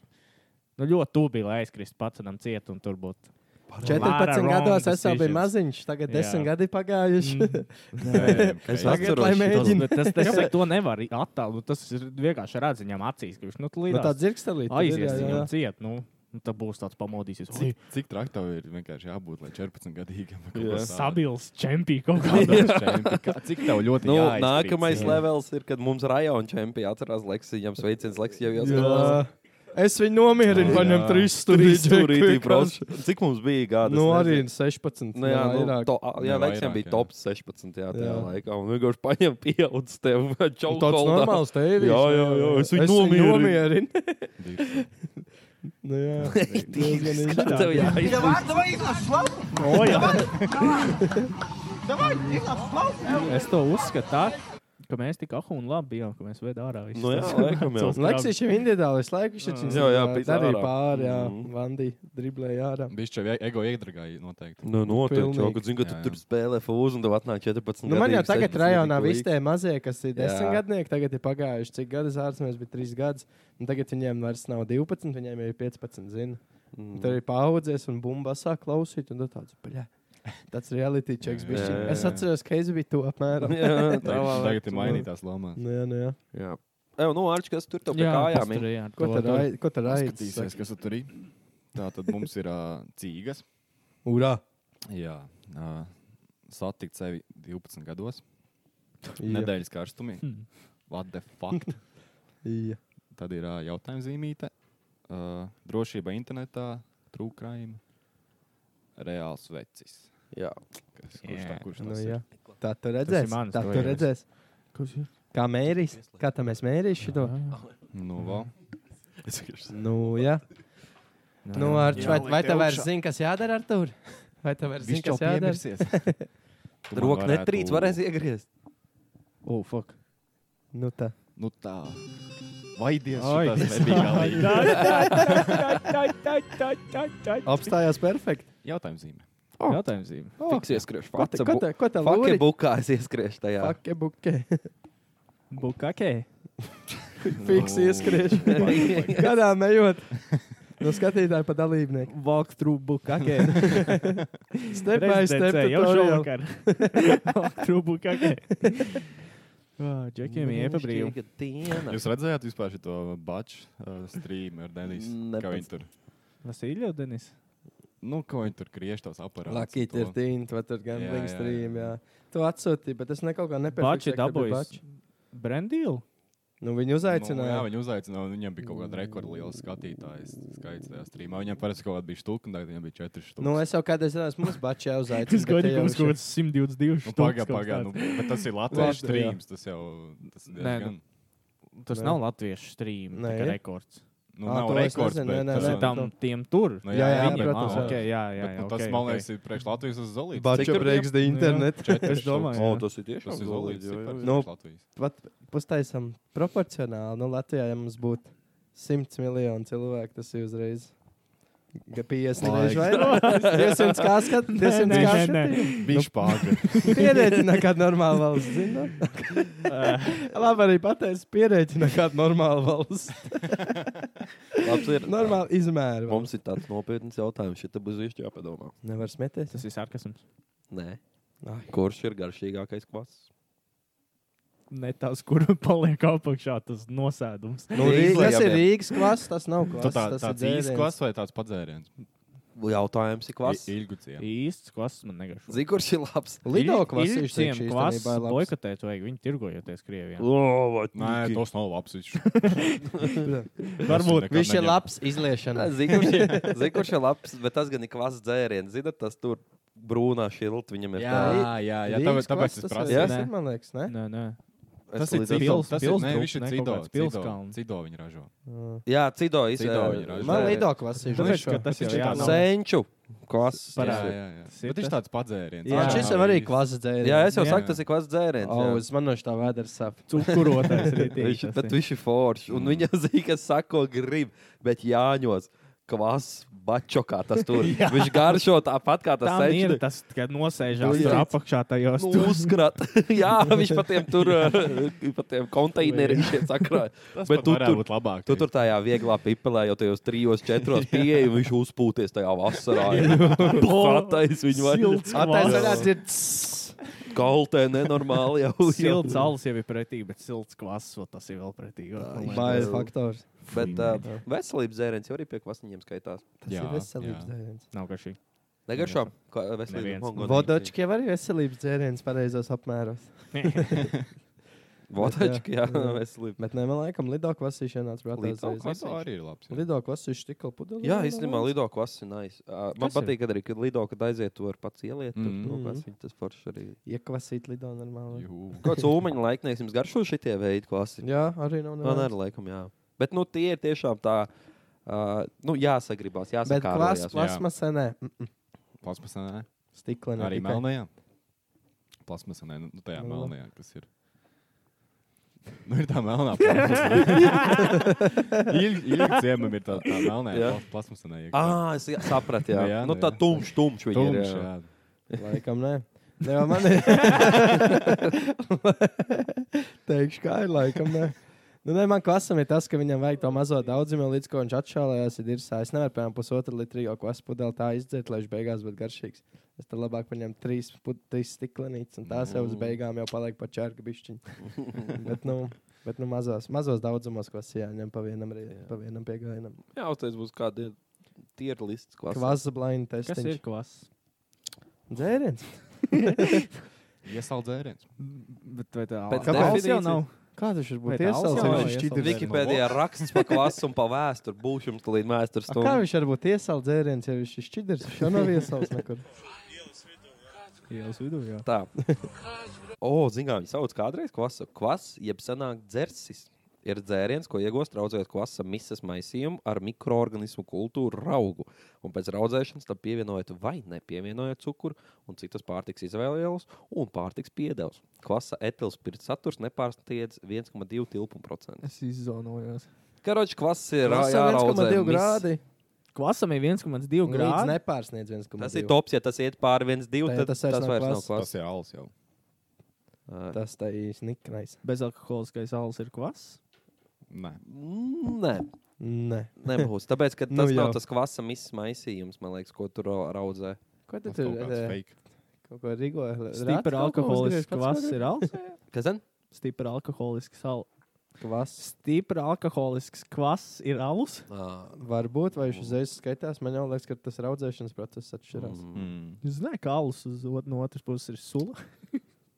Nu, ļoti tuvu bija, lai aizkristu pats tam ciet, un tur būtu.
14 gados
Lara wrong
es jau biju
decisions.
maziņš, tagad
Jā.
10 gadi
Mhm.
pagājuši.
Es
Tagad,
Tagad, lai
atceros, šito-
mēģinu.
Bet Mm, tas, tas, tas to nevar attēlot. Nu, tas ir vienkārši redzams acīs, ka viņš nu,
Nu,
līdz
tā dzirkstelīte.
aizies viņam ciet. Nu, Un tad būs tāds pamodīsies.
Cik, cik traki tev ir vienkārši jābūt, lai 14 gadīgam kaut
Jā.
ko tādu?
Stabils čempions kaut
Stabils
kādā.
čempi. Kā- Cik tev ļoti
Nu,
jāizkrīt,
nākamais
jā.
levels ir, kad mums rajona čempions atcerās Leksijam sveiciens Leksijam jau
Jā. Es viņu nomierinu, viņam trīs stundas
brauc. Cik mums bija gada?
Nu, arī 16.
Nu, jā, nu,
vairāk.
to, jā,
Ne,
Leksijam
vairāk,
bija
jā.
top 16. Jā, tajā
Jā.
laikā. Un vienkārši paņem pieaudz tev.
Un Nu, Tāds normāls tevis.
Jā, jā, jā, es viņu nomierinu.
nomierinu.
Dīksti.
nu, jā. Diezgan
Kā
izsmeļoši.
tev jāizdomā?
O, jā. Es to uzskatu tā, ka mēs tik ahu un labi bijām, ka mēs vedā ārā visu.
Nu jā, laikam jau.
Leksija ir individuāli, es laiku šeit
Jā, jā, pizd
arī
ārā.
pāri, jā,
Mhm.
Vandi driblēja ārā.
Bišķi e- ego iedragāji noteikti.
Nu, noteikti.
Pilnīgi.
Čau, kad zini, ka tu
Jā, jā.
tur spēlē fūzu un tev atnāk 14.
Nu, man jau tagad rajonā viss tie
tēma.
mazie, kas ir
Jā.
desmitgadnieki, tagad ir pagājuši. Cik gadi zārtsmēs bija trīs gadus, un tagad viņiem vairs nav 12, viņiem ir 15, zini. Mm.
Mhm.
Tur ir paudzies un bumba sāk klausīt, un tu tāds, bļa. Tāds reality checks
Jā,
bija.
jā, jā,
Es
jā.
atceros, ka es biju to apmēram.
Jā, tā
Tagad,
vēl.
tagad ir mainītās lomās.
Nu, jā, nu, jā.
Jā. Evo, nu, Arčs, kas tur tev pie
jā,
kājām ir?
jā,
Ko tad rai- ko tad
Paskatīsies,
raidīs?
kas tur ir. Tā tad mums ir uh, cīgas.
Urā!
Jā. Uh, satikt sevi 12 gados.
Jā,
Nedēļas karstumī.
Hmm.
What the fuck?
jā.
Tad ir uh, jautājums zīmīte. Uh, drošība internetā, trūkrājumi, reāls vecis.
Jā.
Kas, kurš
Jā.
tā, kurš
Nu,
tas ir?
jā. Tā tu
Tas ir
redzēsi.
mans
Tā tu
vajag.
redzēsi. Kā mērīs? Kā tam mēs mērīsim šo?
Nu, vau. Es vienkārši-
Nu, jā. Nu, Arč, vai, vai tev vairs zini, kas jādara ar tur? Vai tev vairs zini,
Viņš jau
kas jādara?
piemirsies. Tu man
Roka
varētu-
netrīc, varēs iegriezt.
Oh, fuck.
Nu, tā.
Nu tā. Vai Dievs,
Ai,
tas nebija galīgi.
Apstājās perfekti.
Jautājums zīme.
Jautājums zīme.
Tiks ieskriešu.
Oh, Ko te- ko te- ko tev
Fakti
lūdzi?
bukā es ieskriešu tajā.
Fakke buke.
Bukakē.
Fiks ieskriešu. Gadā ejot. No skatītāja pa dalībnieku.
Walkthrough bukakē.
Step by step.
Rezidencē jau
tutorial.
šovakar. Trūbu kakē.
Nu,
Džekiem ir iepabrīva.
Brīva diena.
Jūs redzējāt vispār šo baču uh, streamu ar Denisu?
Nepats.
Kā viņi tur,
Vasilija, Denis.
nu, kā viņi tur griež tos aparātus.
Lucky
un to.
13, vai tur
Jā, jā,
gambling
jā.
stream, jā. Tu atsūti, bet es nekaudā nepēju.
Bači dabūjis. Brandīlu.
Nu, viņu
Nu, jā,
uzaicināja.
viņu uzaicināja, un viņam bija kaut kāda rekordliela skatītāja skaits tajā streamā. Viņam parasti kaut kāda bija stūka, un tagad viņam bija četri stūki.
Nu, es jau kādreiz zinu, mums bačā uzaicināja.
Tas godīgi mums kaut kāds 122.
Nu,
štuks
pagaidi,
kaut
pagaidi. Nu,
kāds.
bet tas ir latviešu
Labi, jā.
streams. Tas jau tas ir.
Nē,
Diezgan,
Tas
Nē.
nav latviešu stream.
Nē.
Tā kā rekords.
nu,
Ā,
nav
to es
rekords.
nezinu,
bet
nē, nē,
tas
nē,
ir-
tam-
Tam tiem tur.
Nu,
Jā, jā,
viņiem
protams,
nav.
jā.
Okay, jā, jā,
Bet, nu,
jā,
Tas,
okay,
man
okay.
liekas, ir priekš Latvijas uz Zolītes.
Bačā
Cik tur
breiks
Nu,
the internet.
Četri Oh,
Es domāju,
stūki.
jā.
O, tas ir tiešām
Tas ir Zolītes.
solīts, jā, jā, jā.
Nu,
Nu, Latvijas.
pat pustaisam proporcionāli. Nu, Latvijā, ja mums būtu 100 miljoni cilvēku, tas ir uzreiz. Ga 50 reizes
Laiks.
vairāk. 200 kā skat- 200 kā
nē, nē.
skatījumi.
Viņš pārgāja.
Pierēķina kādu normālu valsts. Zinu. Labi, arī pateicis, pierēķina kādu normālu valsts.
Labs ir.
Normāli izmēru. valsts.
Mums ir tāds nopietns jautājums. Šī te būs īsti jāpadomā.
Nevar smieties.
Tas ir sarkasms.
Nē.
Ai.
Kurš ir garšīgākais kvass?
Ne tas, kur paliek apakšā, tas nosēdums.
Nu,
Rīgas
Rīgas, tas ir
lejā,
Rīgas klases, tas nav klases.
Tā,
tas
tāds
ir
īsts
dzēriens.
klases vai tāds padzēriens?
Jautājums ir kvass.
Ilguciem.
Īsts klases man negašo.
Zini, kurš ir labs?
Lido klases ir
Viņiem klases
īstenībā labs.
boikotēt vajag, viņi tirgojoties Krievijā.
Nē, tas nav labs. Viņš
Varbūt.
nekad
Viņš ir
neņem.
labs izliešanā.
Zini, kurš, ir- zini, kurš ir labs, bet tas gan ir kvass dzēriens. Zini, tas tur brūnā šilta viņam ir.
Jā,
tā-
jā,
Rīgas
jā. tāpēc- Tāpēc
klases
es
tas
prasu.
ir-
Jā?
tas ir, Man liekas, ne?
Nē, nē.
Es
Tas ir
līdz ar
civils.
cits
to-
Pils-
tas ir- nē,
Pilsdruks,
viņš ir
ne, kaut
cido,
kāds
cido,
Pilskalns.
cido viņa ražo.
Jā, cido
Cido viņi
izsēž.
ražo.
Man Lido klases ir
Tāpēc,
šo.
ka tas jau
Viņš ir
jā,
tāds
nav-
Senču kvass.
Jā,
Parādi.
jā, jā.
Tas ir
Bet viņš
tas-
tāds padzēriens.
Jā,
Jā.
šis jau arī klases dzēriens.
Jā, es jau
Jā.
saku, tas ir kvass dzēriens. jā.
Oh, es manu šo vēdru sapu.
cukurotais
Viņš,
rītīgi.
bet viņš ir foršs.
Mm.
Un viņa zina, kas sako, grib. Bet Jāņos, kvas, bačokā tas tur.
Jā.
viņš garšo tāpat kā tas nu,
Tā ir
senčs.
tas, kad nosēžās
Nu,
tur
jā.
apakšā tajos
Nu,
tur.
uzkrat. Jā, viņš patiem tur, eh, patiem konteineriem šeit sakrāja. Bet
Bet
tu
tu
tur,
tur būtu labāk.
tu tur tajā vieglā pipelē, jau tajos trijos, četros pieeja, un viņš uzpūties tajā vasarā. Platais viņu
Silts
vajag.
kvas.
Attaisnās ir
kaltē nenormāli jau. jau.
Silts alus jau ir pretī, bet silts kvass, vēl tas ir vēl pretī.
ir Bailes faktors.
Bet
Fuj,
uh,
nē.
veselības dzēriens jau arī pie kvasniņiem skaitās.
Tas
Jā,
ir veselības
jā.
dzēriens.
Nav garšīgi.
Negaršo. Kā
Neviens.
veselības mongoļi.
Vodočki jau arī veselības dzēriens pareizos apmēros.
Vodočki, jā,
Bet, jā.
veselības.
Bet ne, man liekas, lido kvasīšanā atbraucās.
Lido
reizes.
Tas arī ir labs. jā.
Lido kvasīšu tikko pudelī.
Jā,
vienā
īstenībā
reizē.
Lido kvasi nice. Uh, man
Kas ir?
patīk, kad arī kad Lido, kad aiziet, to var pats ieliet. Mm
Mhm.
-hmm. Kvasi, tas forši arī.
Iekvasīt lido normāli.
Jū.
Kāds ūmeņa laiknieks jums garšo šitie veidi kvasi?
Jā, arī nav
Nu, Man
nevajag.
arī laikam, jā. Bet nu, tie ir tiešām tā, uh, nu, jāsagribās,
Bet klas,
jāsakārojas.
plas-
plasmasa, nē. Mm, mm.
Plasmasā, nē,
Stikla, nē.
arī melnajā. Plasmasā, nē, nu tajā
Melnā.
melnajā, kas ir. Nu, ir tā melnā plasmasa. Ilgi ciemam ir tā, tā melnā
Jā.
plasmasa. nē, iekšā.
Ah, es jā- sapratu, jā.
Nu,
jā
jā,
nu,
nu,
tā
jā.
tumšs, tumšs viņa ir.
Tumšs,
jā.
jā.
Laikam nē. Nē, jau man ir. Teikšu, kā ir, laikam nē. Nu, nē, man klasam ir tas, ka viņam vajag to mazo daudzumu, līdz ko viņš atšālējās. Ir ir sāpes. Es nevaru, piemēram, pusotru litru jau klasu pudeli tā izdzert, lai viņš beigās būtu garšīgs. Es tad labāk paņemu trīs, pud- trīs stiklenītes, un tās jau uz beigām jau paliek pa čērku bišķiņu. bet, nu, bet, nu, mazos, mazos daudzumos, ko sijāņem pa vienam, rī- pa vienam piegājienam.
Jā, uztais būs kādi tier lists kvasi.
Kvasa blaiņa
Kas ir
testiņš.
kvass?
Dzēriens.
Iesaldzēriens.
Bet vai tā
Pēc
Alus jau
definīcijas-
nav?
Kā tas var
Vai
būt?
tā alus
Iesaldzēriens?
jau nav
Viņš šķiet-
iesaldzēriens?
Wikipēdijā raksts par klasu un par vēsturi. Būs jums līdz vēstures
A Kā
stundai.
viņš var būt iesaldējis dzēriens, ja viņš ir šķidrs? Viņš jau nav iesaldējis nekur.
Ielas vidū, jā.
Tā. O, zinām, viņi sauc kādreiz kvasu. Kvas, jeb senāk dzersis, ir dzēriens, ko iegūst raudzējot kvasa misas maisījumu ar mikroorganismu kultūru raugu. Un pēc raudzēšanas tam pievienojot vai nepievienojot cukuru un citas pārtiks izvēlējumus un pārtiks piedevus. Kvasa etilspirts saturs nepārstiedz 1,2 tilpumu procentu.
Es izzonojos.
Karoči, kvas ir
Tas ir 1,2 grādi.
Kvasam ir
Grāds
1,2 grādi.
nepārsniedz 1,2.
Tas ir tops, ja tas iet pāri 1,2,
Tā,
tad tas
tas vairs nav
vairs nav
kvass.
kvass.
Tas ir alus jau.
Ā,
Tas tā īsti niknais.
Bezalkoholiskais alus ir kvass.
Nē,
mm, Nē,
Nē.
Nebūs. Tāpēc, ka tas
Nu
nu, nav
jau.
tas kvasa izsmaisījums, man liekas, ko tur ra- raudzē.
Ko tu
tas
tur
kaut kāds
eh,
fake.
kaut ko rigoji? Rati kaut ko
Stipra
uzgriež,
alkoholisks
pats
kvass
nogriež?
ir alus.
Kas tad?
Stipra alkoholisks alus.
Kvass.
Stipra alkoholisks kvass ir alus.
Varbūt, vai viņš uzreiz skaitās, man jau liekas, ka tas raudzēšanas process atšķirās.
Mm.
Jūs zināt, ka alus uz ot- no otras puses ir sula.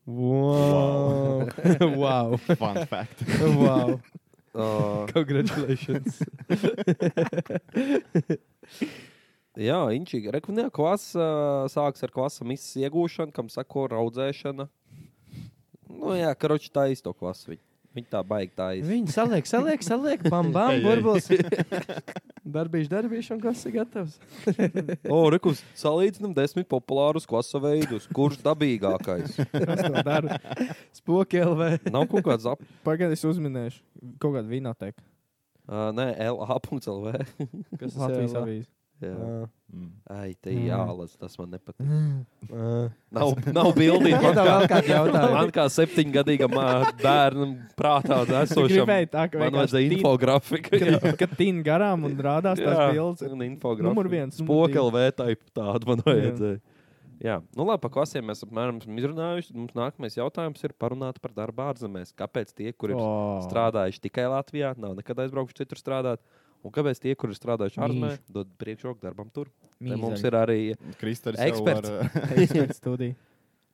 Wow! Wow!
Fun fact.
Wow!
Uh,
Congratulations!
jā, inčīgi. Rekunē, kvasa sāks ar kvasa misas iegūšanu, kam sako raudzēšana. Nu jā, karoči tā īsto kvasu. Viņa, viņa tā baigi tā īsti.
Viņi saliek, saliek, saliek, bam, bam,
Ei, ei.
burbulis. Darbīši, darbīši, un kas ir gatavs?
O, Rekus, salīdzinām desmit populārus kvasa veidus. Kurš dabīgākais?
Kas to dara?
Spoki LV.
Nav kaut kāds ap...
Pagaidiet, es uzminēšu kaut kādu vinoteku.
Uh, nē, LA.LV.
Kas
Latvijas avīze.
Jā.
Jā.
Ai, te
Mm.
jālas, tas man nepatīk.
Ā.
Nav, nav bildība.
Tev vēl kādi jautājumi?
Man kā septiņgadīgam ā, bērnam prātā
Tu
esošam.
gribēji tā, ka
Man
vienkārši
vajadzēja
tin-
infografika.
kad- Kad tīna garām un rādās tās bildes.
un infografika.
Numur viens. numur divi.
Spokelvē taipu tādu man vajadzēja. Jā, nu labi, par klasēm mēs apmēram esam izrunājuši. Mums nākamais jautājums ir parunāt par darbu ārzemēs. Kāpēc tie, kuri ir
O.
strādājuši tikai Latvijā, nav nekad aizbraukuši citur strādāt? Un kāpēc tie, kuri ir strādājuši ārzemēs, dod priekšroku darbam tur? Te mums ir arī
Kristers
Eksperts.
Jau ar,
Eksperts studija.
eh,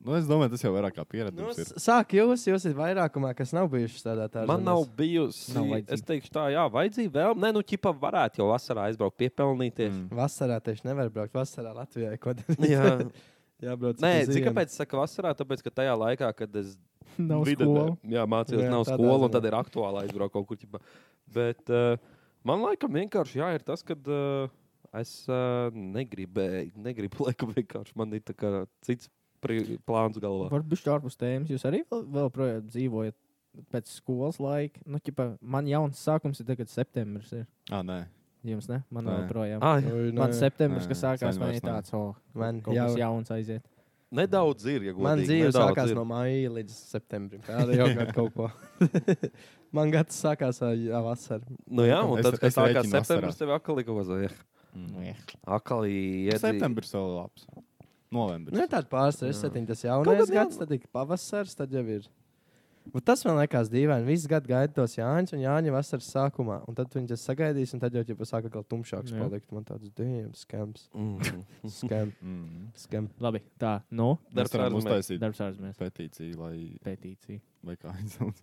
nu, es domāju, tas jau vairāk kā pieredze.
Nu,
mums ir.
s- Sāk jūs, jūs esat vairākumā, kas nav bijuši tādā tādā.
Man nav bijusi.
Nav
Nav
vajadzība.
es teikšu, tā, jā, vajadzīga vēl. Nē, nu, ķipa varētu jau vasarā aizbraukt, piepelnīties. Mm.
Mm.
Vasarā tieši nevar braukt. Vasarā Latvijā ir ko darīt.
Jā,
jābrauc.
Nē,
uz
zini,
zivīm.
kāpēc es saku vasarā? Tāpēc, ka tajā laikā, kad es
Nav
vidutnē-
skolu.
jā, mācījos,
Jā,
jā, nav
tādā
skola, un
ziņā.
tad ir aktuāli aizbraukt kaut kur. Ķipa. Bet uh, man laikam vienkārši jā, ir tas, ka uh, es uh, negribēju, negribu, laikam vienkārši man ir tā kā cits pri- plāns galvā.
Varbūt bišķi ārpus tēmas. Jūs arī vēl, vēl projām dzīvojat pēc skolas laika. Nu, ķipa, man jauns sākums ir tagad septembris. Ir.
Ah, nē.
Jums ne? Man
Nē.
vēl projām.
Ah,
Ui, nē.
Man septembris,
Nē,
kas sākās,
sen
nu, man
vairs
ir tāds, oh,
Man
kaut
jau-
kas jauns aiziet.
nedaudz ir, ja godīgi.
Man dzīve
nedaudz
sākās
ir.
no māja līdz septembrim. Kāda jau gada kaut ko. Man gads sākās ā, jā, vasarā.
Nu, jā, un
Es-
tad, kad
es
sākās
rēķinu vasarā.
septembris, tev atkal ir kaut kas tāds.
Mm.
Akāli iedzīvot.
Septembris vēl labs. Novembris.
Nu, ir tāda pārstresa, tas
Kaut
jaunais
kad jā-
gads, tad ir pavasars, tad jau ir. Bet tas man liekas dīvaini. Visu gadu gaida tos Jāņus un Jāņa vasaras sākumā. Un tad viņi to sagaidīs, un tad jau jau sāk atkal tumšāks
Jā.
palikt. Man tāds dīvains skams.
Mm.
Skam.
Mhm.
Skam.
Labi, tā, nu,
Mēs
Darbs
varam
ārzemēs.
uztaisīt
darbs ārzemēs.
petīciju, lai
Pētīcija.
vai kā viņi sauc.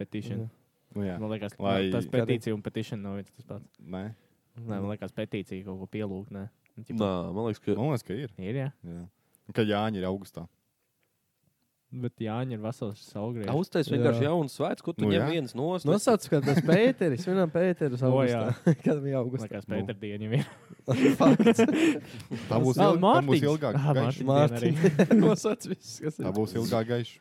Petīcija.
Nu, jā.
Man liekas, ka
Lai-
tas petīcija un petīcija nav viens tas pats.
Nē,
Nē, man liekas, petīcija kaut ko pielūgt. Nē, Nu, tipa,
Nā, man liekas, ka.
man liekas, ka ir.
ir jā.
Jā. Un Ka Jāņa ir augustā.
Bet Jāņa ir vesels augļs.
Uztais Nu, vienkārši jaunu svētku, kur tu
Nu,
ņem
jā.
viens nost.
Nosauc, kad tas Pēteris, vienam Pēteris,
O, jā.
augustā. kad viņam
Man
augustā.
liekas, Pēter diena jau ir.
Fakts.
Tā būs,
Vēl
ilg, tā būs
Mārtiņš.
ilgāk.
Ah,
gaiša.
Mārtiņ.
Mārtiņ, nosauc viss, kas
Tā
ir.
būs ilgāk gaiša.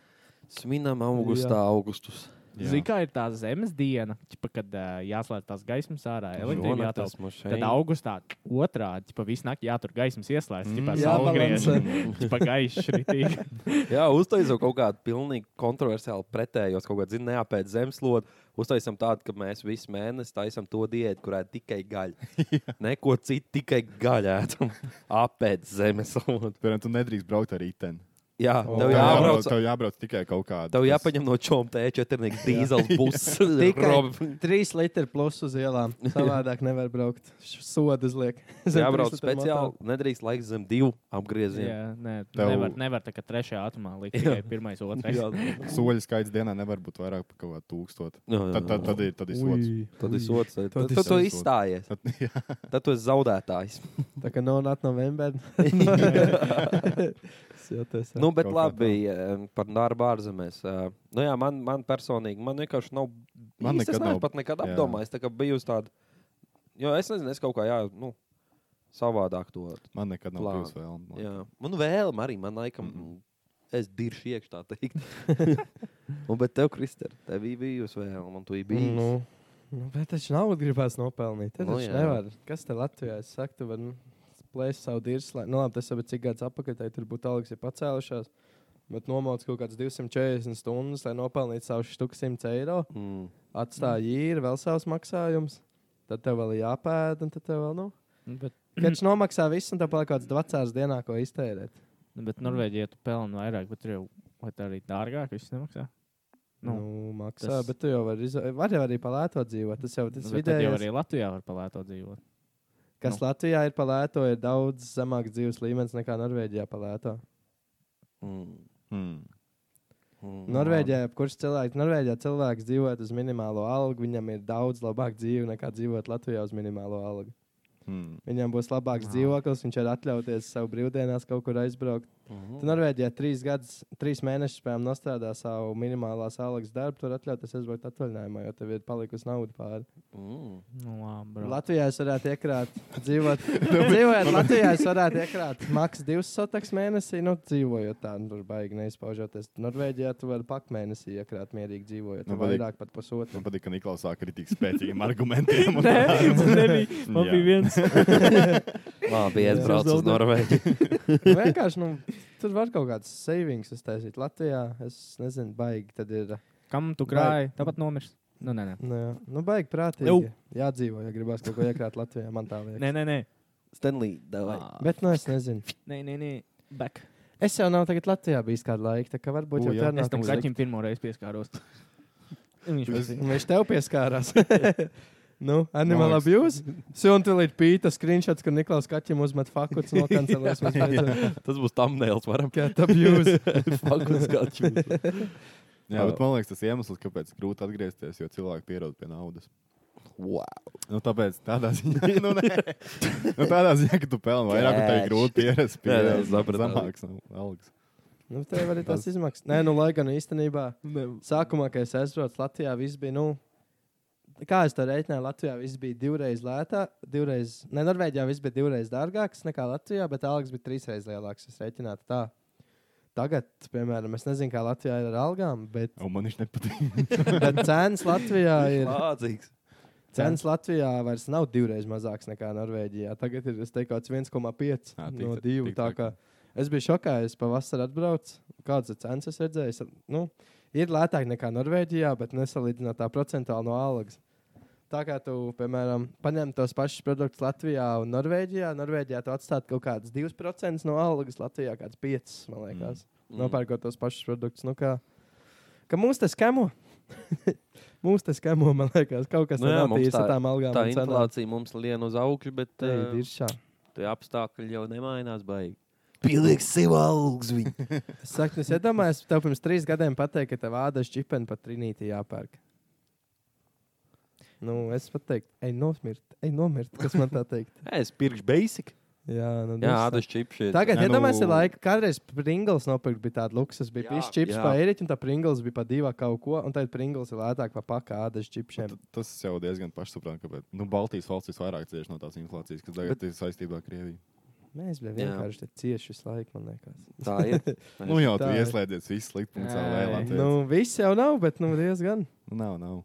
Svinam augustā augustus.
Jā.
Zini, kā ir tā zemes diena, ķipa, kad uh, jāslēdz tās gaismas ārā, elektrība
Šonakt
jātās.
esmu šeit.
Tad augustā otrādi, pa visu naktī jātur gaismas ieslēgts,
Mm.
jau
Jā,
tādā
balansē.
griežā. Pa gaišu ritīgi.
Jā, uztaisām kaut kādu pilnīgi kontroversiālu pretējos, kaut kādu zinu, neapēc zemeslodi. Uztaisām tādu, ka mēs visu mēnesi taisām to diētu, kurā ir tikai gaļa. Neko citu, tikai gaļa ēdam. Apēc zemeslodi.
Piemēram, tu nedrīkst braukt ar riteni.
Jā,
O.
tev
Tev
jābrauc.
Tev jābrauc tikai kaut kādā.
Tev jāpaņem no E čomta E4 dīzeļa buses.
Tikai
Rob-
3 litri plus uz ielām. Savādāk nevar braukt. Sodu uzliek. Zem
Jābrauc
trīs litru
speciāli. Nedrīkst laiks zem divu apgriezienu.
Jā, nē,
Tev-
tev... nevar, nevar tā kā trešajā atomā likt
Jā.
tikai pirmais, otrais.
Jā,
Soļu skaits dienā nevar būt vairāk par kaut kādu tūkstošu. Tad, tad, tad ir, tad ir
motoru.
sots.
Ui.
Tad es otrs. Nu, Tad
ir
tu to
sots.
izstājies.
Tad, jā,
Tad tu esi zaudētājs.
Tā kā nav nāc novembrī.
Nu, bet
Kaut kā
labi, em, par darbu ārzemēs. Eh, Nu, jā, man, man personīgi, man vienkārši nav.
Man
īsti es
nekad nav-
neesmu pat nekad
jā.
apdomājis. Tā kā biju uz tādu. Jo es nezinu, es kaut kā jā, nu, savādāk to.
man nekad nav
Plāns.
bijusi vēlme.
Jā. Man vēlme arī, man laikam, mm
Mhm.
-hmm. es diršu iekšā, tā teikt. Un, bet tev, Krister, tev bija bijusi vēlme, un tu biji bijis.
Nu, nu, bet taču naudu gribēs nopelnīt. Tad
Nu,
taču
jā.
nevar. Kas te Latvijā? Es saku, tu vari nu, plēst savu dirslēnu. Nu, labi, tas jau bija cik gads apakaļ, tai tur būtu algas ir pacēlušās. Bet nomauc kaut kāds 240 stundas, lai nopelnītu savu štuku 100 eiro.
Mm.
Atstāja īri, vēl savus maksājumus. Tad tev vēl ir jāpēd, un tad tev vēl, nu,
Bet,
kad nomaksā visu, un tev paliek kaut kāds 20 dienā, ko iztērēt.
bet Norvēģijā tu pelni vairāk, bet tur jau vai tā arī dārgāk viss nemaksā.
Nu,
Nu,
nu, maksā, tas...
tas- Nu,
bet tu jau vari, izva- vari arī palētot dzīvot. Tas jau tas
Tas
vidējais,
video arī Latvijā var palētot dzīvot.
kas
nu.
Latvijā ir palēto, ir daudz zemāks dzīves līmenis nekā Norvēģijā palēto.
Mm.
Mm.
Mm.
Nu,
Nu,
Norvēģijā, kurš cilvēks, Norvēģijā cilvēks dzīvot uz minimālo algu, viņam ir daudz labāk dzīve nekā dzīvot Latvijā uz minimālo algu.
Mm.
Viņam būs labāks
Nā.
dzīvoklis, viņš var atļauties sev brīvdienās kaut kur aizbraukt.
Nu.
Mhm.
Tad Norvēģijā trīs gadus, trīs mēnešus pēc tam strādā savu minimālās algas darbu, tur atļauties aizbraukt atvaļinājumā, jo tev ir palikusi nauda pāri.
Mm.
Nu, labi,
Bro.
bro.
Latvijā es varētu iekrāt, dzīvot. dzīvojot Latvijā, es varētu iekrāt maksas divas sotaks mēnesī. Nu, dzīvojot tā, nu, tur baigi neizpaužoties. Norvēģijā tu vari pak mēnesī iekrāt mierīgi dzīvojot. Nu,
Man patīk.
vairāk pat pusotru.
Man patīk, ka Niklaus sāk kritiski spēcīgiem argumentiem. un
Nē,
tā.
man nebija. Man
Jā.
bija viens.
Labi, es
Jā.
braucu uz Norvēģiju.
Nu, vienkārši, nu, tur var kaut kādas savings uztaisīt. Latvijā, es nezinu, baigi tad ir.
Kam tu krāji? Tāpat nomirs. Nu, nē, nē.
Nu, jā. nu baigi prātīgi.
Jau.
Jādzīvo, ja gribās kaut ko iekrāt Latvijā. Man tā liekas.
Nē, nē, nē.
Stanley, davai.
Bet, nu, es nezinu.
Nē, nē, nē. Back.
Es jau nav tagad Latvijā bijis kādu laiku, tā kā varbūt
U,
jau
jā.
tā
Es tam
nav.
kaķim pirmo reizi pieskāros. Viņš
Es-
bija.
Un viņš tev pieskārās. nu, animal
Man liekas-
abuse. Suntelīt pīta screenshots, kur Niklaus Kaķim uzmet fakuts no kancelēs.
Tas būs thumbnails, varam.
Cat abuse.
Fakus gaču.
Jā, bet man liekas, tas iemesls, kāpēc grūti atgriezties, jo cilvēki pierod pie naudas.
Wow.
Nu, tāpēc tādā ziņā, nu, nē. nu, tādā ziņā ka tu pelni vairāk, un tev ir grūti pierast pie
Nē, nē, es sapratu.
zemākas algas.
nu, tev arī tas izmaksas. Nē, nu, lai gan īstenībā sākumā, kad es aizbraucu Latvijā, viss bija, nu, kā es to reiķināju, Latvijā viss bija divreiz lētāk, divreiz, ne, Norvēģijā viss bija divreiz dārgāks nekā Latvijā, bet algas bija trīsreiz lielākas. Es reiķinātu tā. Tagad, piemēram, es nezinu, kā Latvijā ir ar algām, bet,
Un man viņš nepatīk.
bet cenas Latvijā ir.
Lādzīgs.
Cenas Latvijā vairs nav divreiz mazākas nekā Norvēģijā. Tagad ir es teiktu, kaut kāds 1,5
Ā, tik
no
tā-
2.
tik
Tā
tā
kā es biju šokā, es pavasarī atbraucu. Kādas cenas es redzēju? Es, Nu, ir lētāk nekā Norvēģijā, bet nesalīdzinātā procentuāli no algas. Tā kā tu, piemēram, paņem tos pašus produktus Latvijā un Norvēģijā, Norvēģijā tu atstāji kaut kādas 2% no algas, Latvijā kaut kādas 5%, man liekas, mm. nopērkot tos pašus produktus. Nu, kā, ka mums tas kamo. mums tas kamo, man liekas, kaut kas
Nu jā,
tāds
mums
ir ar
tā-
tām algām.
Tā
un cenām.
inflācija mums lien uz augšu, bet
Tā ir
eh,
diršā.
tie apstākļi jau nemainās. Baigi.
Pieliek sev algas. Es saku, es iedomājos, tev pirms trīs gadiem pateikt, ka tev ādas čipeni pat trinīti jāpērk. Nu, es pat teiktu, ej, nomirt, ej, nomirt, kas man tā teikt.
Es pirkšu basic.
Jā, nu,
Jā,
dirs tā.
tas čips.
Tagad,
Nē,
ja
nu-
domājat, ir laika, kādreiz Pringles nopirkt, bija tāda luksus, bija
Jā,
pišķis čips
jā.
par eiriķu, un tā Pringles bija par divā kaut ko, un tagad Pringles ir lētāk par pakādas čipšiem.
Tas jau diezgan pašsaprotami, kāpēc. Nu, Baltijas valstis vairāk cieši no tās inflācijas, kas tagad Bet... ir saistībā ar Krieviju.
Mēs bija
Jā.
vienkārši te cieši visu laiku, man liekas.
Tā ir.
Nu, jau tur
Tā ir.
ieslēdzies viss slikts.
Ei,
Nu,
Nu, viss jau nav, bet nu diezgan.
nav, nav.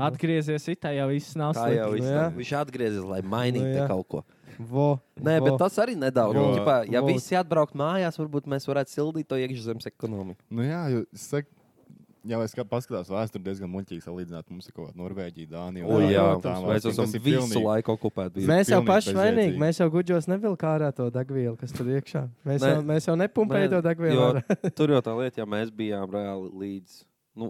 Atgriezies itā, jau viss nav
Tā jau
slikti.
nu
viss.
jā.
nav. Viņš atgriezies, lai mainītu
Nu jā.
te kaut ko.
Vo,
Nē,
vo.
bet tas arī nedaudz.
Jo-
Nu, ķipā, ja
Vo-
visi atbraukt mājās, varbūt mēs varētu sildīt to iekšzemes ekonomiku.
Nu, jā, jo, es saku, jā, es kā paskatās vēsturē, diezgan muļķīgi salīdzināt. Mums ir kaut kāda Norvēģija, Dānija.
O,
Ungārija,
jā,
un tām
mēs
valstīm.
esam
Tas ir
visu
pilnīgi-
laiku okupēti. bijuši.
Mēs jau
pilnīgi
paši vainīgi,
bezjēdzīgi.
mēs jau guģos nevilkām ārā to degvielu, kas tur iekšā. Mēs,
Nē.
jau, mēs jau nepumpējām
Nē,
to degvielu.
jo-
ārā.
Tur jau tā lieta, ja mēs bijām reāli līdz nu,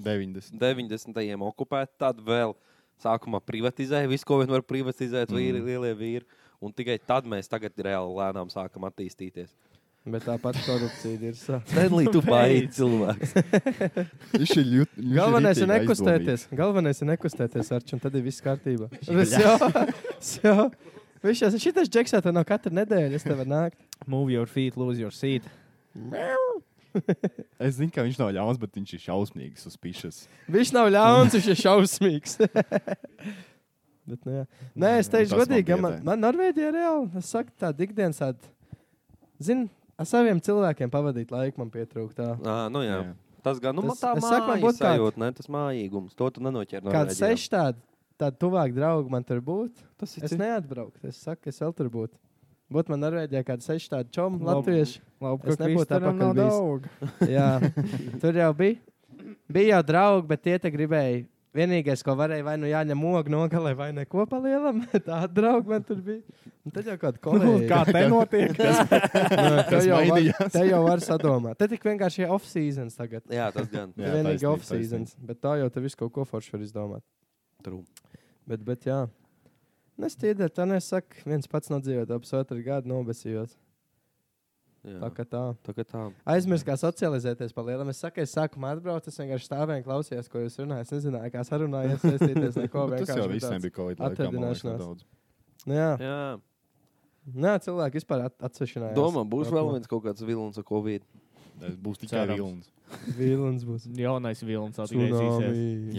90.
90. gadsimtam okupēti, tad vēl sākumā privatizēja visu, ko vien var privatizēt, vīri, mm. lielie vīri. Un tikai tad mēs tagad reāli lēnām sākam attīstīties.
Bet tāpat korupcija ir. sa.
Stanley, tu baigi cilvēks.
Viņš ir ļoti.
Galvenais ir nekustēties. Galvenais ir nekustēties, Arčs, un tad ir viss kārtībā. Tas jau. Viņš jau šitas džeksā tā no katra nedēļas tev var nākt.
Move your feet, lose your seat.
Es zinu, ka viņš nav ļauns, bet viņš ir šausmīgs uz pišas.
Viņš nav ļauns, viņš ir šausmīgs. Bet, nu, jā. Nē, es
Tas
teikšu,
man
godīgi, ja man,
biedē.
man Norvēģija ir reāli. Es saku, tā ikdienas tāda. Zini, ar saviem cilvēkiem pavadīt laiku man pietrūkst.
À, nu, jā.
Jā.
Tas gan nu, man
Tas-
tā
es saku, man
mājas
būtu kāds-
sajūta, ne? Tas mājīgums. To tu nenoķer. no
Kāds
Norvēģijā.
seši tādi, tādi tuvāk draugi man tur būtu.
Tas ir
Es
cik-
neatbrauktu. Es saku, es vēl tur būtu. Būtu man Norvēģijā kādi seši tādi čomi,
Labi.
latvieši.
Labi,
Es
ka
nebūtu
Kristaram
atpakaļ
nav
bijis.
daudz.
Jā, tur jau bija. Bija jau draugi, bet tie te gribēja. Vienīgais, ko varēja, vai nu jāņem ogle nogalē, vai neko palielam. Tāda drauga man tur bija. Un tad jau kāda kolēģa.
Nu, Kā te notiek?
nu, te,
kas
jau var,
mainījās?
te jau var sadomāt. Te tik vienkārši ir off-season tagad.
Jā, tas gan.
Jā, vienīgi off-season. Bet tā jau tev viss kaut ko forši var izdomāt.
True.
Bet, bet jā. Nes tiedēt, tā nesaka, viens pats nodzīvot, ap pusotru gadu nobesījot.
Jā.
Tā kā tā.
Tā kā tā.
Aizmirst, kā socializēties par lielu. Es saku, es sākumā atbraucu, es vienkārši stāvēju un klausījos, ko jūs runājat. Es nezināju, kā sarunājos, iesaistīties neko
Nu, Tas
vienkārši
jau
bija
visiem
tāds.
bija Covid laikā. man liekas,
atradināšanās.
nedaudz.
Nu Jā,
Jā.
Nē, cilvēki vispār at atsevišķinājās.
Domā, būs vēl viens kaut kāds vilns ar Covid.
Es būs tikai
Cerams.
vilns.
vilnis. Būs.
Jaunais vilnis atgriezīsies.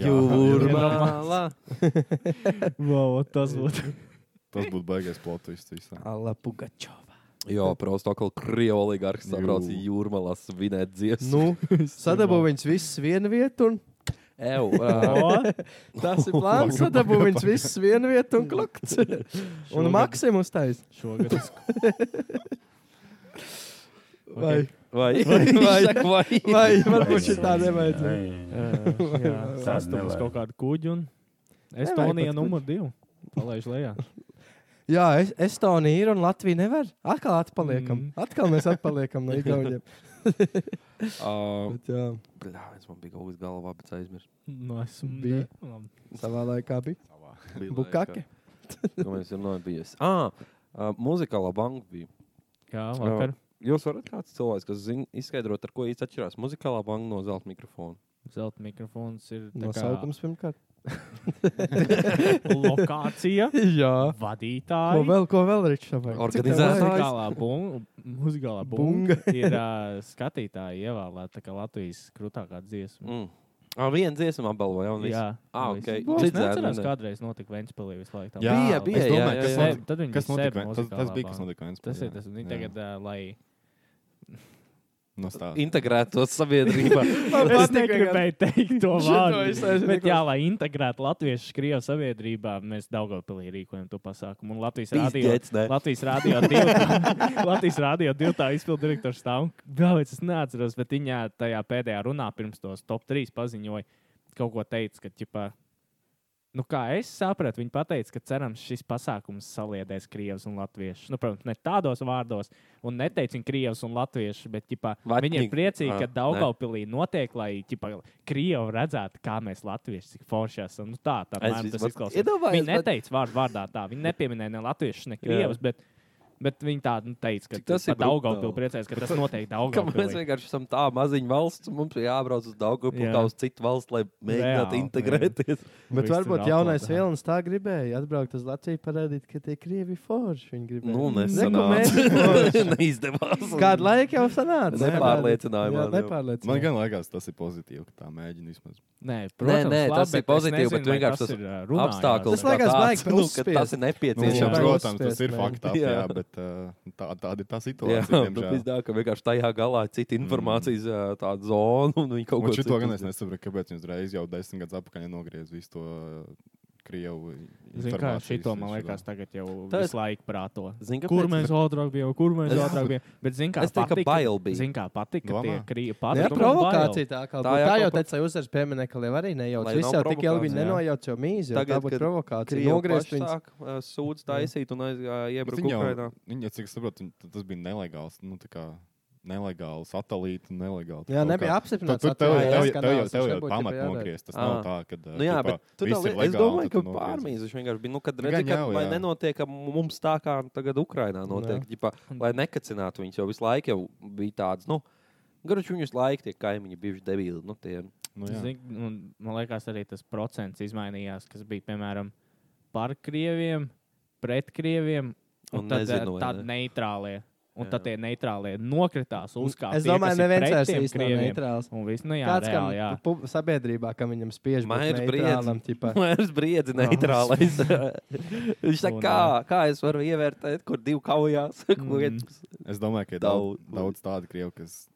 Tsunami.
Jā.
Jūrmālā.
Wow, tas būtu.
Tas būtu baigais plotus visam.
Alla Pugačova.
Jā, Prostokal krievu oligarks
Jū.
sabrauc jūrmalā svinēt dziesmu.
Nu, sadabū viņus visus vienu vietu. Un...
Ew,
O,
Tas ir plāns. Sadabū viņus visus vienu vietu un klakts. un
Šogad-
Maksimu uztais.
Šogad es
Vai,
vai, vai,
Vai-
vai, vai.
vai varbūt šī tā nevajadzēja.
Ē, sastapu uz kaut kādu kuģi un Estonija
pat
numur divi. Palaiž lejā.
Jā, es, Estonija ir un Latvija nevar. Atkal atpaliekam.
Mm.
Mm. Atkal mēs atpaliekam no Igauniem.
Uh,
Bet, jā,
bļā, es man bija kaut kas galvā, bet aizmirsu.
Nu, es
Bija. savā laikā bija. Bukake.
Ko mēs runājam bijis? Ah, uh, muzikālā banka bija.
Jā, vakar.
Jūs varat kāds cilvēks, kas zin, izskaidrot, ar ko īsti atšķirās muzikālā banka no zelta mikrofona.
Zelta mikrofons ir tā kā
Nosaukums pirmkārt.
lokācija,
Jā. Ko
vadītāja.
vēl, ko vēl Ričam?
Organizētājs.
Muzikālā bunga, muzikālā bunga ir uh, skatītāji ievēlēta tā kā Latvijas krūtākā dziesma.
Mm. Ah, viena dziesma apbalvoja, un viss.
Jā,
Ah,
viss.
ok.
Es
Cits
neatceros,
dzērnu, ne?
kādreiz notika Ventspēlī visu laiku. tā
Jā,
Bija,
muzikāla
bija,
es
jā,
banka.
domāju,
jā,
kas
jā.
notika-
Tad viņi
Kas
sevi
notika? Ven- Tas, tas
muzikālā
bija, kas
banka.
notika viens.
Tas ir tas, un viņi tagad, uh, lai.
No stāsta.
Integrētos sabiedrībā.
Es negribēju teikt
Šito
to
es
vārdu.
neesmu
Bet, jā, lai integrētu latviešu Krievijas sabiedrībā, mēs Daugavpilī rīkojam to pasākumu. Un Latvijas radio.
Pīzdēts, ne?
Latvijas radio 2. Latvijas radio 2. izpildu direktors stāv. Galvenais, es neatceros, bet viņa tajā pēdējā runā pirms tos top 3 paziņoja. Kaut ko teica, ka, ķipā, Nu, kā es sapratu, viņi teica, ka cerams, šis pasākums saliedēs krievis un latviešus. Nu, protams, ne tādos vārdos, un neteicu viņu krievis un latviešus, bet ģipā, viņi ir priecīgi,
Ah,
ka
ne.
Daugaupīlī notiek, lai ģipā, krievi redzētu, kā mēs latvieši cik forši esam. Nu, tā tā
Es
man tas
vismaz
izklausās.
iedomājos,
Viņi
bet-
neteica vārdu vārdā tā, viņi nepieminēja ne latviešus, ne krievus. bet- Bet viņi tādu nu, teica, ka
Cik tas ir
Daugaupīlī
brutāli.
priecājās, ka tas notiek
Ka Mēs
Daugaupīlī.
vienkārši esam tā maziņa valsts, un mums ir jābrauc uz Daugopu,
Jā.
kā uz citu valstu, lai mēģinātu
Reāli,
integrēties.
Bet
Viss tur
varbūt
aplauda.
jaunais vilnis tā gribēja atbraukt uz Latviju, parādīt, ka tie krievi forši. Viņi gribēja.
Nu,
Neko
nesanāca.
mēs forši.
Neizdevās.
Kādu laiku jau sanāca?
Nepārliecināja
Jā,
mani jau.
nepārliecināja.
Man gan liekas, tas ir pozitīvi, ka tā mēģina vismaz.
Nē,
Nē, protams,
nē,
labi,
tas ir
bet es
pozitīvi, bet
nezinu, vai
vienkārši
tas
tas
ir, uh, runājās.
apstākļus.
Tas liekas baigi
nu, ka tas
uzspiest.
Nu,
ir
jā,
jā.
nepieciešams.
protams, tas ir
Jā.
fakts. Jā,
Jā.
bet uh, tā, tāda ir tā
Jā,
situācija.
nu,
diemžēl.
pizdā, ka vienkārši tajā galā ir cita informācijas mm. tāda zona, un viņi kaut
Un
ko
šito gan es
citu-
nesaprotu, kāpēc viņi uzreiz jau desmit gadus atpakaļ nogriez visu to ā, krievu.
Zini, kā
informācijas
šito man
visu
liekas, tagad jau
Tas-
visu laiku prāto.
Zini,
Kur
kāpēc?
mēs ātrāk bijām, kur mēs
Es-
ātrāk bijām. Bet, zini, kā
Es teiktu, ka
patika-
bail bija.
Zini, kā patika, ka
Domā?
tie krievi
Nu, Jā,
patika.
provokācija tā kā
Tā
tā,
jau
tā jau
kaut ko-
teica, uzvaras pieminiekam, jau arī nejauc.
Lai
Viss
nav
jau tik ilgi
provokācija,
viņi
jā.
nenojauc jau mīzi, jo tā
Tagad,
būtu
kad
provokācija.
Krievi
Nogriezt
paši
viņus.
sāk uh, sūdz taisīt un aizgāja
Bet
iebrukt
Viņi jau,
Ukrainā.
viņi, ja cik es saprotu, viņi- t- tas bija nelegāls. Nu, tā kā nelegāli satelīti, nelegāli.
Jā, nebija
Tur
apstiprināts.
tev, tev,
atklājās
tev, tev,
kanāls,
jau-
viņš
tev jau
nebūtu
pamat
jādara.
nogriezt. Tas
Ā.
nav tā, ka.
Nu, jā, bet tur tā lieta- es domāju, ka pārmīzes vienkārši bija. Nu, kad redzi,
Gan
ka,
jau,
lai
jā.
nenotiek ka mums tā, kā tagad Ukrainā notiek, ģipā, lai nekacinātu viņus, jo visu laiku jau bija tāds, nu, garuši viņus laiku tie kaimiņi bijuši debīli. Nu, tie,
Nu, jā.
Zini, un, man liekas, arī tas procents izmainījās, kas bija piemēram par krieviem, pret krieviem un,
Un
tad, eh,
nezinu, vai
tad neitrālie. Un tad tie neitrālie nokritās, uzkāpa.
Es domāju, neviens vairs
ir
īsti nav
krieviem.
neitrāls.
Un viss, nu jā,
Kāds,
Kāds, reāli, jā.
kam pu- sabiedrībā, kam viņam spiež
Mairs
būt
Briedz.
neitrālam, tipā.
Mērs briedzi neitrālais. Viņš saka,
Un,
kā, kā es varu ievērtēt, kur divi kaujās? Ko viens-
Es domāju, ka ir
Daudz-
daudz, daudz tādu krievu, kas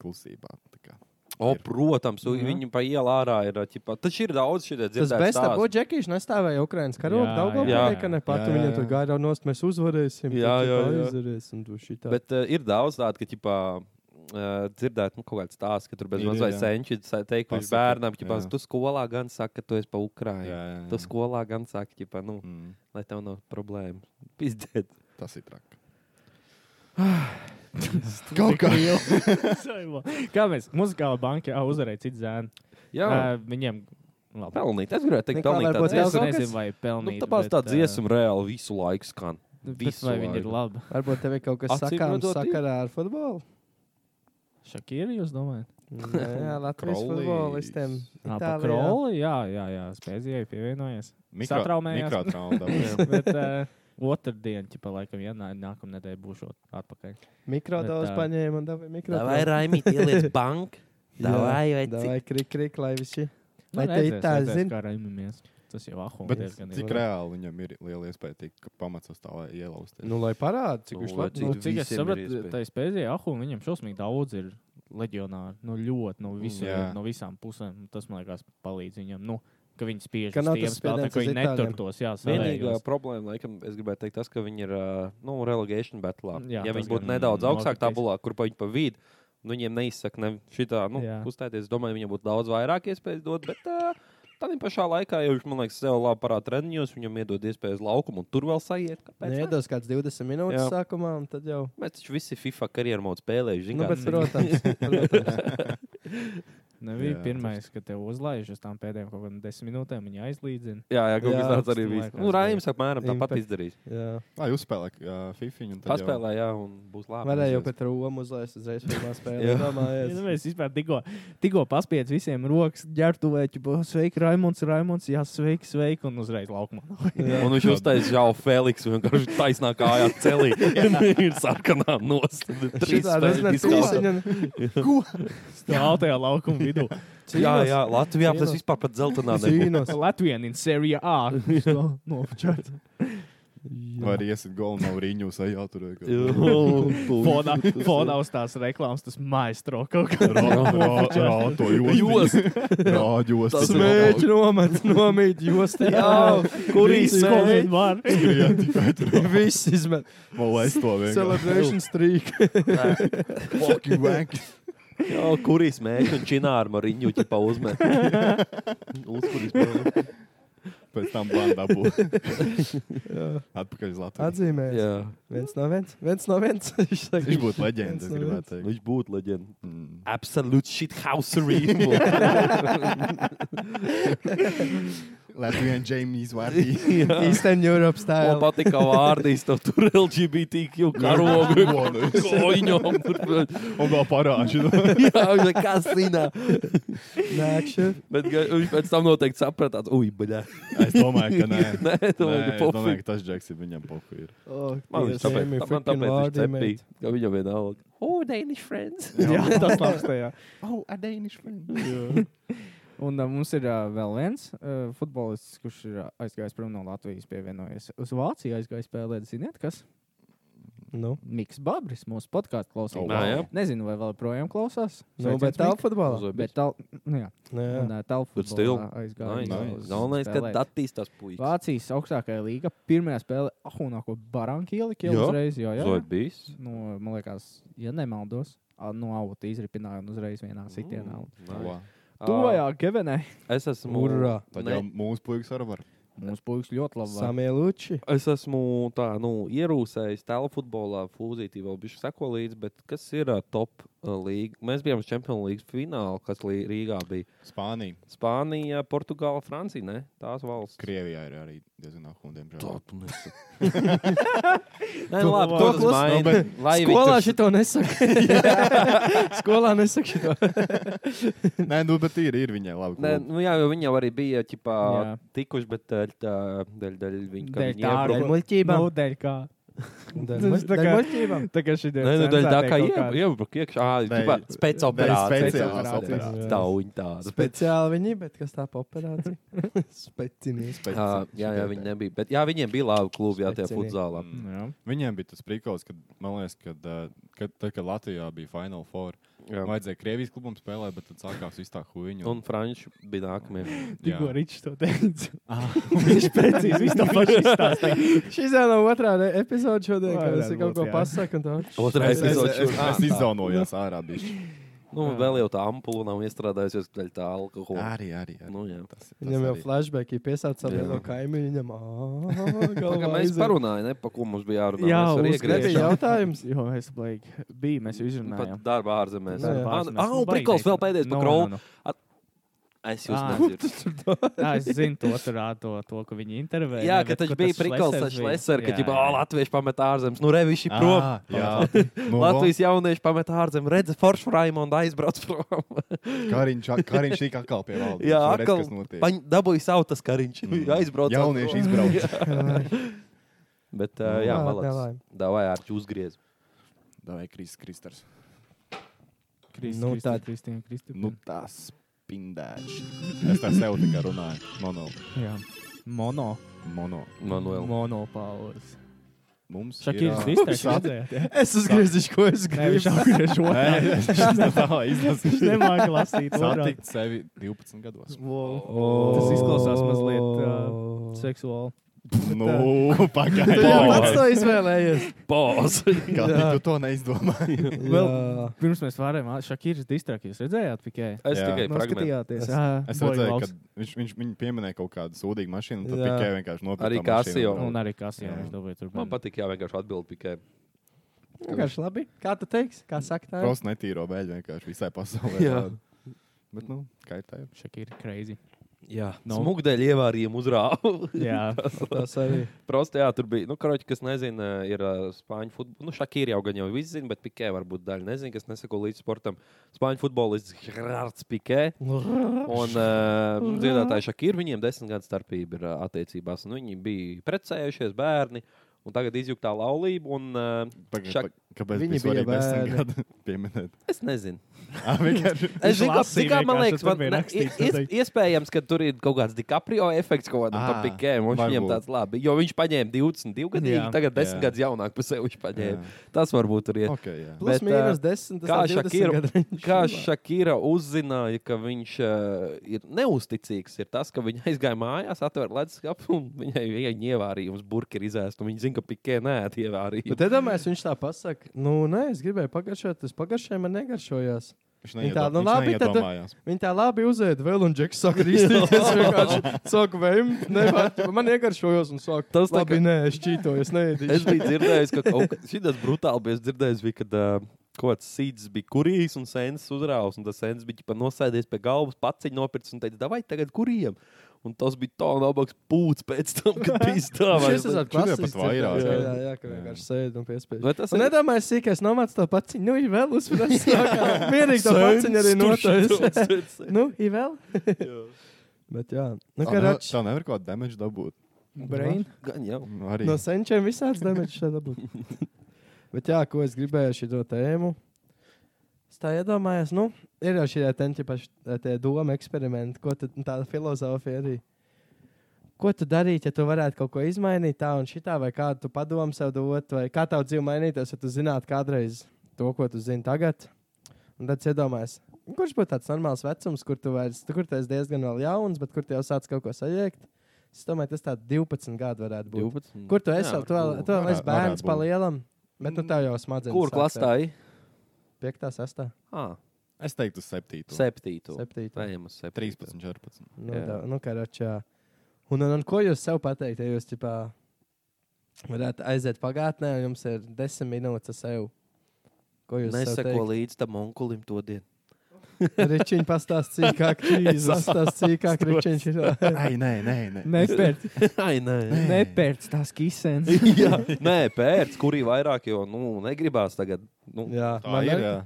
klusībā. tā kā.
O,
Ir.
protams, un viņi pa ielu ārā ir. ķipa, Taču ir daudz šī
Tas
dzirdētas.
best ar to Džekiju nestāvēja Ukraiņas karogu.
Jā,
Daudzpusīgais
jā.
bija, ka ne
Jā,
pati
jā,
viņa
jā.
tur gāja nost, mēs uzvarēsim.
Jā,
tu
jā,
tā
jā.
aizdarēsim, tu šitā.
Bet uh, ir daudz tādu, ka ķipā, uh, dzirdēt nu, kaut kādu stāstu, ka tur bez
Ir, ir,
mazliet
jā.
senčīt teikuši
Pasaka,
bērnam, ka
jā.
tu skolā gan saki, ka tu esi pa
Jā,
Ukraiņu.
jā,
Tu
jā.
skolā gan saki, ķipā, nu,
Mm,
lai tev nav problēmu. Pizdiet.
tas ir traki. Kaut kā jau.
Kā mēs muzikāla banka jau uzvarēja citu zēnu?
Jā,
Eh, Viņiem labi.
pelnīt. Es gribēju teikt,
Nekā
pelnīt.
varbūt
tāds
vēl
Es
kaut
dziesmu.
kas?
nezinu, vai
Nu,
pelnīt.
tāpēc
bet,
tā
eh,
dziesma reāli visu laiku skan.
bet
visu
Vai viņi ir
laiku.
labi?
Varbūt tev ir kaut kas
Acīm
sakāms
redzot, ir.
sakarā ar futbolu.
Šakīri, jūs domājat?
Nē, Jā, Latvijas
Krolis.
futbolistiem.
Jā, pa
Itālijā.
kroli, jā, jā, jā. Spēzijai pievienojies. Satraumējās.
Mikrotrauma.
Bet uh, otrdien, ķipa, laikam, ja nā- nākamnedēļ būšu atpakaļ.
Mikrodaus
Bet, ā,
paņēma un deva
Davai,
mikrodaus.
Raimīt, ieliec banku.
Jā,
Davai, vai cik?
Davai, krik, krik, lai visi.
Nu,
Vai te
redzēs,
tā
redzēs,
zina?
Kā raimimies. Tas jau ahu.
Bet
diezgan
Cik
ir.
reāli viņam ir liela iespēja tikt pamats uz tā, lai ielausties?
Nu, lai parāda, cik
Nu,
viņš
lai
labi.
cik-
Nu, cik es
visiem ir
sapratu,
iespēja.
tā spēļā ahu viņam šausmīgi daudz ir leģionāri. Nu, ļoti no, visu,
jā.
no visām pusēm. Tas, man liekas, palīdz viņam. Nu, ka viņi spiež
Ka
uz
nav
tiem
tas
spēlētājiem, ka
spiediens uz
viņi
Itāļiem.
neturtos. Jā,
Vienīgā
savējos.
problēma, laikam, es gribēju teikt, tas, ka viņi ir ā, nu, relegation battlā. Jā,
Jā,
ja
tas
viņi būtu
gan
nedaudz augstāk
nokritīs.
tabulā, kur pa viņi pa vidu, nu, viņiem neizsaka ne šitā, nu,
Jā.
uzstāties. Es domāju, viņiem būtu daudz vairāk iespēju dot, bet ā, tādā pašā laikā, ja viņš, man liekas, sev labi parāda treniņos, viņam iedod iespēju uz laukumu un tur vēl sajiet. Kāpēc? ne?
Nedos Nu, kāds 20 minūtes
Jā.
sākumā, un tad jau.
Mēs taču visi FIFA karjeru modu spēlējuši.
Nu, bet,
Nu,
protams, protams.
Nebija
Jā,
pirmais, ka te uzlaiž uz tām pēdējām kaut kādām desmit minūtēm. Viņa aizlīdzina.
jā, jā, kaut
Jā,
kas tāds
tas
arī
man
bija.
liekas,
Nu, Raims apmēram
Impact.
tāpat izdarīs.
Jā.
Lai uzspēlē uh, FIFA.
Paspēlē, jā, un būs labi.
Varēja jau
aizies.
pēc Romas uzlaist uzreiz pirmā spēlē.
Jā.
Es
domāju,
domāju, vispār tikko, tikko paspiedzu visiem rokas, ģērbtuvēķi, sveiki, Raimons, Raimons, jā, sveiki, sveiki, un uzreiz laukumā.
Un viņš uztaisīja jau Feliks, vienkārši taisnā kājā celī. Viņš ir sarkanā nost. Trīs spēles izkāpa.
Stāv tajā laukuma vidū.
Jā, jā, Latvijā tas vispār pat dzeltenā nebija.
Zīnos.
Latvijā in Serie A. Nofočāts.
Var iesiet golu no rīņu, vai jau tur
Fonā, fonā uz tās reklāmas, tas maistro kaut kā.
Jūs! Rāģos!
Tas
Smēķi nomets, nomīt jostā.
Jā, kur
Ko
īstenībā?
vien var?
Viss izmet.
Man liekas, to vienkārši.
Celebration streak.
Fucking wank!
Jā, kur īstenībā? Un čināra mariņu ķipa uzmet. Uzkurīs.
Pēc tam bandā būs. Atpakaļ uz Latviju.
Atzīmēs.
Jā.
Viens no viens. viens, no viens. Viņš saka,
Viņš būtu leģenda,
viens no
es
viens.
gribētu teikt.
Nu, Viņš būtu leģenda.
Mm.
Absolūti shithousery.
Latvijas Jamie's vārdi.
Eastern Europe
Man
Ehm.
style.
patīk, kā vārdīs tev tur LGBTQ karogu. Koņom.
Un vēl parāžu.
Jā, viņš ir kasīnā.
Nākšu.
Bet ga- viņš pēc tam noteikti saprata, ui, baļā.
Es domāju, ka nē.
Nē, tu
Nē,
vajag
es domāju,
pofīt.
ka tas Džeks ir viņam pofu. Ir.
Oh,
Man viņš
Dievs,
tāpēc,
Amy,
man
freaking
tāpēc viņš
vārdi, mate.
cepīja, ka viņam vienalga. Oh, Danish friends.
Jā, tas labs tajā.
Oh, a Danish friend.
Un uh, mums ir uh, vēl viens uh, futbolists, kurš ir uh, aizgājis prom no Latvijas, pievienojies uz Vāciju, aizgājis spēlēt. Ziniet, kas?
Nu,
Miks Babris mūsu podkāstu klausās.
Oh,
Nā, jā.
Nezinu, vai vēl projām klausās.
nu bet tā futbolā.
Bet tā, nu jā,
Nu jā.
un, uh, telpu
But still,
futbolā aizgāja.
nice.
uz
Galvenais,
spēlēt.
ka attīstās puikas.
Vācijas augstākajā līga pirmajā spēlē ah, Ahunako Baranku ielika jau
Jā.
uzreiz. Jā, jā.
Zvaigznes bijis.
No, man liekas, ja nemaldos, a, no auta izripināja un uzreiz vienā sitienā.
Wow.
Tuvajā Gevenē
Es esmu.
Urā.
Tad
Ne.
jau mūsu puikas arī var.
mums puikas ļoti labi. var.
Samieluči.
Es esmu tā, nu, ierūsējis tālu futbolā, fūzītī vēl bijuši seko līdzi, bet kas ir uh, top uh, līga? Mēs bijām uz Champions League finālā, kas lī, Rīgā bija.
Spānija.
Spānija, Portugāla, Francija, ne? Tās valsts.
Krievijā ir arī diezgan ahundiem.
tu nesaki. Nē, labi, to
To
tas
klas-
Nu,
maina.
bet
Lai
Skolā šito nesaka. Skolā nesaka šito.
Nē, nu, bet ir, ir viņai labi.
Nē, nu jā, jo viņi jau arī bija ķipā,
Jā.
tikuši, bet daļ tā daļ, daļ viņa
Dēļ
kaut
tā,
kā
Dēļ
Dēļ
muļķībām.
Nu, dēļ kā.
Dēļ
Tā kā-
muļķībām.
Tā kā šī
Nē, nu, daļ tā kā iebruka iekšā. Ā,
Dēļ-
ķipā,
Speciālās
spēcoperācija.
operācijas.
operācijas.
Tauņi tāda.
Speciāli viņi, bet kas tā pa operāciju? Specinieks.
Pēc-
Jā, jā, jā, viņi nebija. Bet, jā, viņiem bija labi klubi, jā, tajā
Specinieki.
futzālā.
Mm. Viņiem bija tas prikals, kad, man liekas, kad, ā, kad, tad, kad Latvijā bija Final Four.
Mm,
Jā. Vajadzēja Krievijas klubam spēlēt, bet tad sākās viss tā huīņa.
Un Frančs bija nākamie.
Tikko Ričs to teica. Viņš precīzi visu to pašu izstāstīja.
Šis jau nav otrā ne- epizode šodien, kad
Vairāk
es kaut ko
būtu, jā.
pasaku. un tā,
Otrā
Es, es,
epizode
es,
šodien.
es izdaunojos ārā. bišķi.
Nu, vēl jau tā ampula nav iestrādājusies, daļ tā alkohola.
Arī, arī. arī.
Nu, jā.
Tas, tas
Viņam jau
arī.
flashback ir piesācis ar
Jā.
vienu kaimiņu. Viņam
Tā kā
jau
mēs parunājām, ne pa ko mums bija jārunā.
Jā,
mēs arī
uz
Nebija
iegriežam.
jautājums.
Jo mēs blaigi bija, mēs jau
Pat
izrunājām.
darbā ārzemēs.
Jā.
Ah, nu, ah, un prikals vēl pēdējais
Nu,
par krolu. Es jūs
Ah.
nedzirdu.
Jā, es zinu to, tur, ā, to, to, ko viņi intervēja.
Jā,
ne,
ka
bet
taču
kur
bija
tas
prikals ar
Šlesers bija.
šleseru, ka
Jā,
ķipa,
jā.
ah, latvieši pamet ārzemēs. Nu, reviši prom.
Ā, Jā, nu,
Latvijas jaunieši pamet ārzemēs, redz foršu Raimondu aizbrauc prom.
Kariņš, kariņš tika atkal pie valdes.
Jā,
Nu, redz,
atkal
kas notiek.
paņ- dabūja savu tas kariņš.
Mm.
Aizbrauc.
Jaunieši izbrauc.
Bet, uh, jā,
Jā,
malācis.
nelai.
Davai, Arču, uzgriez.
Davai, Kris, Kristers.
Kristi,
Nu,
Kristi,
tā-
Kristīna, Kristi.
Nu, tas pindēši. Es tā sev tikai runāju. Mono.
Jā. Mono.
Mono.
Manuēl.
Monopauzes.
Mums
Šakīrs
ir...
distēks redzēt. jā?
Es uzgriezīšu, E, ko es
Nē, viņš
gribēju.
apgriež
Nē,
otrā. Viņš
izlasīšu.
nemāca lasīt otrā.
Satikt sevi 12 gados.
Tas izklausās mazliet uh, seksuāli.
Nu,
Tu Oh. jau pats
pagaidi.
to izvēlējies.
Pos.
Kā
Jā.
tu to neizdomāji?
Vēl
Pirms mēs varējām, Šakīrs distrak, jūs redzējāt tikai.
Es
Jā.
tikai fragmentu.
Noskatījāties.
Es-
ā,
Es
boy
redzēju,
loves.
ka viņš, viņš, viņš pieminēja kaut kādu sūdīgu mašīnu, un tad
Jā.
tikai vienkārši nopirka.
Arī
tā mašīnu.
Casio.
Un arī kas jau
Jā.
dabūja tur.
Man patīk, ja vienkārši atbild tikai.
vienkārši labi. Kā tu teiksi? Kā saka tā?
Prosti netīro vēļu vienkārši visai pasaulē.
Jā.
tādu. Bet, nu, kā ir tā? ir.
Šakīrs crazy.
Jā,
Nu.
smugdeļ ievārījām uzrāvu.
Jā.
Tas arī.
Prosti, jā, tur bija. Nu, karoči, kas nezina, ir uh, spāņu futbols. Nu, Šakīri jau gan jau viss zina, bet Pikē varbūt daļa nezina, kas neseko līdz sportam. Spāņu futbolists Gerards Pikē un uh, dziedātājs Šakīri. Viņiem desmit gadu starpība ir uh, attiecībās. Un viņi bija precējušies bērni. Un tagad izjūgtā laulība, un uh,
Pagaid,
Šak-
Šak... Kāpēc
Viņi
viņi bija
bija
svarīgi desmit gadi pieminēt?
es nezinu.
Ā, vienkārši.
Es zinu, ka
lasīja
tikai man
vienkārši,
liekas,
tur
man,
bija
ne,
rakstīts,
ies,
noteikti.
iespējams, ka tur ir kaut kāds DiCaprio efekts kaut kādam
Ā,
ah, pikēm. un Viņam
varbūt.
tāds labi, jo viņš paņēma 22 gadus,
Jā. Oh,
tagad 10
Jā.
gadus jaunāk par sevi viņš paņēma.
Jā.
Tas varbūt tur ir.
Okay, jā.
Plus
Bet,
mīnus
ā,
10.
Kā Šakira, kā Šakira uzzināja, ka viņš uh, ir neusticīgs, ir tas, ka viņa aizgāja mājās, atvēra leduskapu un viņai viņa ievārījums burki ir izēst. un Viņa zina, ka pikē nē, ievārījums.
Bet, iedomājieties, viņš tā pasakā, nu, nē, es gribēju pagaršot, tas pagaršai man negaršojās.
Viņš
Viņa tā, nu, labi, tad,
neiedomājās.
viņa tā labi uzēda vēl, un Džeks saka, rīstīties. Es vienkārši saku, vējam, man iegaršojos un saku,
Tas
tas
tā
labi, nē, es čītojos, neēdīšu.
Es biju dzirdējis, ka kaut kas tāds brutāli bija. Es dzirdēju, bija, kad uh, kaut kāds sīds bija kurījis un sēnes uzrāvis. Un tas sēnes bija ķipa nosēdies pie galvas, paciņš nopircis un teica, vai tagad kurījiem? Un tas bija tā labāks pūcis pēc tam, kad bija
Šis ir
stāvā.
tāds
Šodien pat
klasisks,
vairāk,
dzirdams,
jā.
Jā, jā, ka vienkārši sēdi un piespiež.
Vai tas
Un
ir-
nedomāju, sīkais nomāts to paciņu. Nu, ir vēl uzspēlēts. Mierīgi to
Sēns,
paciņu arī
kurš
notais.
to sēns?
Nu, ir vēl. Bet jā, nu,
Tā
kā
ne-
račs.
tā nevar kaut kādu damage dabūt. Nu,
Brain.
Gan jau.
Arī
No senčiem visāds damage šeit dabūt. Bet jā, ko es gribēju šito tēmu. Es tā iedomājos, nu, ir jau šī tēma, paši eh, tie doma eksperimenti, ko tad nu, tāda filozofija arī. Ko tu darītu, ja tu varētu kaut ko izmainīt tā un šitā, vai kādu tu padomu sev dot, vai kā tavu dzīvi mainītos, ja tu zinātu kādreiz to, ko tu zini tagad? Un tad es iedomājos, kurš būtu tāds normāls vecums, kur tu vairs, tu, kur tu esi diezgan vēl jauns, bet kur tu jau sāc kaut ko sajēgt? Es domāju, tas tāds 12 gadu varētu būt.
12.
Kur tu esi?
Jā,
vēl? Tu vēl,
varbūt.
tu vēl
Varētu-
esi bērns
varētu
pa
būt.
lielam, bet nu tev jau smadzenes.
Kur klasē?
5, 6,
Ah,
Es teiktu, 7.
septīto.
7.
Ejam uz septīto.
13, 14.
Nu,
Jā.
tā- nu karačā. Un, un, un ko jūs sev pateikt, ja jūs ķipā, varētu aiziet pagātnē, un jums ir 10 minūtes sev? Ko jūs
Neseko
sakāt?
līdzi tam onkulim to dienu.
Ričiņš pastāstīja, kā krīze. Pastāstīja, kā krīze ir.
Ai, nē, nē, nē.
Nepērc,
Ai, nē.
nepērc tās kisenes.
jā, nē, pērts, kurī vairāk, jo nu, negribās tagad. Nu,
Jā,
Tā
man
ir.
ir.
jā.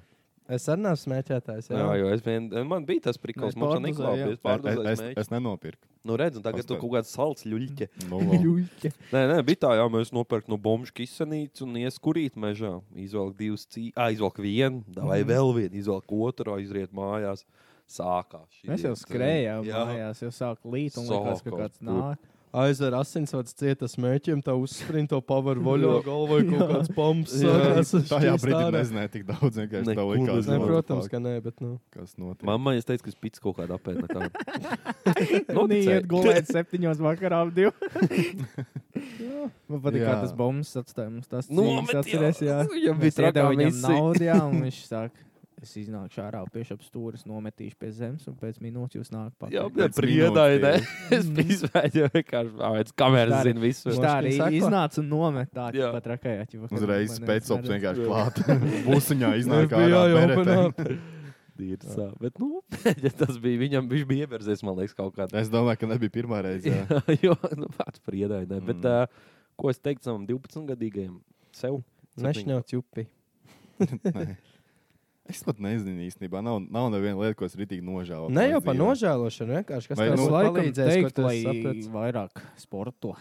Es arī neesmu smēķētājs.
jā,
Jā,
jo es vien, man bija tas prikals,
Mēs
mums tā
pārdozējām.
neklāpjas.
Es-
Pārdozēs
Es,
mēs.
es nenopirku.
Nu, redz, un tagad tu
Pastāv.
kaut kāds salds ļuļķi.
Nu, labi.
Nē, nē, bija tā, jā, mēs nopērkam no bombuļu kisenītes un ieskurīt mežā. Izvelk divas cīņas, ah, izvelk vienu, vai vēl vienu, izvelk otru, aizriet mājās. Sākās. šī
Mēs jau
diena.
skrējām,
Jā.
mājās, jau sāk līt, un likās, ka
Sākās
kāds
tur.
nāk.
aizver asinsvads cieta smēķiem, tā uzsprinto pavaru voļo galvā kaut kāds pumps.
Jā.
sākās, es
Tajā
šķīstu
brīdī
ārā.
nezināju tik daudz, vienkārši tā
Neko
likās.
Ne,
nezināju.
what the
Nu, protams,
fuck,
ka nē, bet nu.
Kas notiek?
Mamma, es teicu, ka es pits kaut kādā pēdnē. Tā
Nu, iet gulēt septiņos vakarā ap divu. Jā, Man patīk, kā
Jā.
tas bombs atstāja mums tas
Nu,
cīņas,
bet jā.
atceries, jā.
Viņam bija
Mēs
trakā
iedevām viņam
misija.
naudu, jā, un viņš saka, es iznākšu ārā, piešu ap stūris, nometīšu pie zemes, un pēc minūtes jūs nāk
Jā,
pakaļ.
bija
Pēc
priedai,
minūtes,
nē. Es izvēlēju vienkārši, ah, es kameras
Štāri.
zinu visu.
Viņš tā arī
Moškins sako?
iznāca un nomet tā,
Jā.
ka pat rakajā ķipa.
Uzreiz spēcīgs vienkārši klāt. Būsiņā iznāk kā
open
jau.
Dirsā. Bet, nu, ja tas bija viņam, viņš bija ievērzies, man liekas, kaut kādā.
Es domāju, ka nebija pirmā reize. jā.
Jā, jo, nu, pats priedai, nē. Bet,
Mm.
ā, ko es teiktu savam 12-gadīgajam sev?
Nešņauts jupi.
Nē. Es pat nezinu īstenībā. Nav, nav neviena lieta, ko es ritīgi nožēloju.
Ne jau par
savā dzīvē.
nožēlošanu, vienkārši kas
Vai
tev
Tas
nu-
laikam
palīdzēs, ko
teikt,
tu
lai
esi sapratis.
vairāk sporto.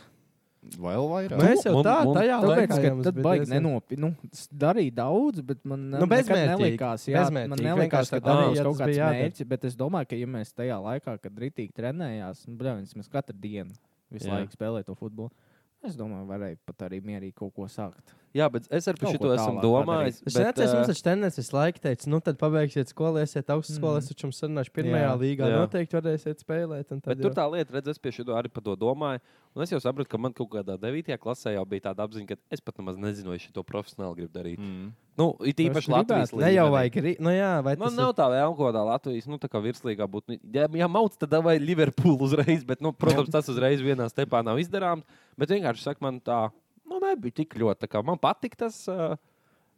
Vēl
Nu,
vairāk.
Mēs jau
Man-
tā,
man-
tajā
Tāpēc,
laikā
ka
jau mums
tad
bija
baigi
diezgan-
nenopietni. Nu, es darīju daudz, bet man
Nu,
nu,
bezmērķīgi,
nelikās, jā, man
bezmērķīgi,
nelikās,
vienkārši
ka
tā
darīju
darīja,
kaut
tas
kāds
bija jādara.
mērķis. Bet es domāju, ka ja mēs tajā laikā, kad ritīgi trenējās, nu, bļāvis, mēs katru dienu visu
Jā.
laiku spēlējām to futbolu. Es domāju, varēja pat arī mierīgi kaut ko sākt.
Jā, bet es ar
Kaut
šo
ko
esmu
tālāk
domājis.
Es
bet,
atceros,
ā,
mums taču tendenci visu laiku teica, nu tad pabeigsiet skolu, esiet augstskolā, es taču jums sarunāšu pirmajā
Jā.
līgā,
Mm. Jā.
noteikti varēsiet spēlēt. un tad
Bet tur
jau-
tā lieta, redz, es pie šī arī par to domāju. Un es jau sapratu, ka man kaut kādā 9. klasē jau bija tāda apziņa, ka es pat nemaz nezinu, vai es to profesionāli gribu darīt. Mm.
Mm.
Nu, it īpaši
gribētu,
Latvijas
Ne jau vajag, ri- nu jā, vai tas
Man
ir-
nav tā vēlme kaut kādā Latvijas, nu, tā kā virslīgā būtu. Nu, Ja, ja mauc, tad vai Liverpool uzreiz, bet, nu, protams, tas uzreiz vienā stepā nav izdarāms. Bet vienkārši saka, man tā, nu, nebija tik ļoti. tā kā Man patīk tas, uh,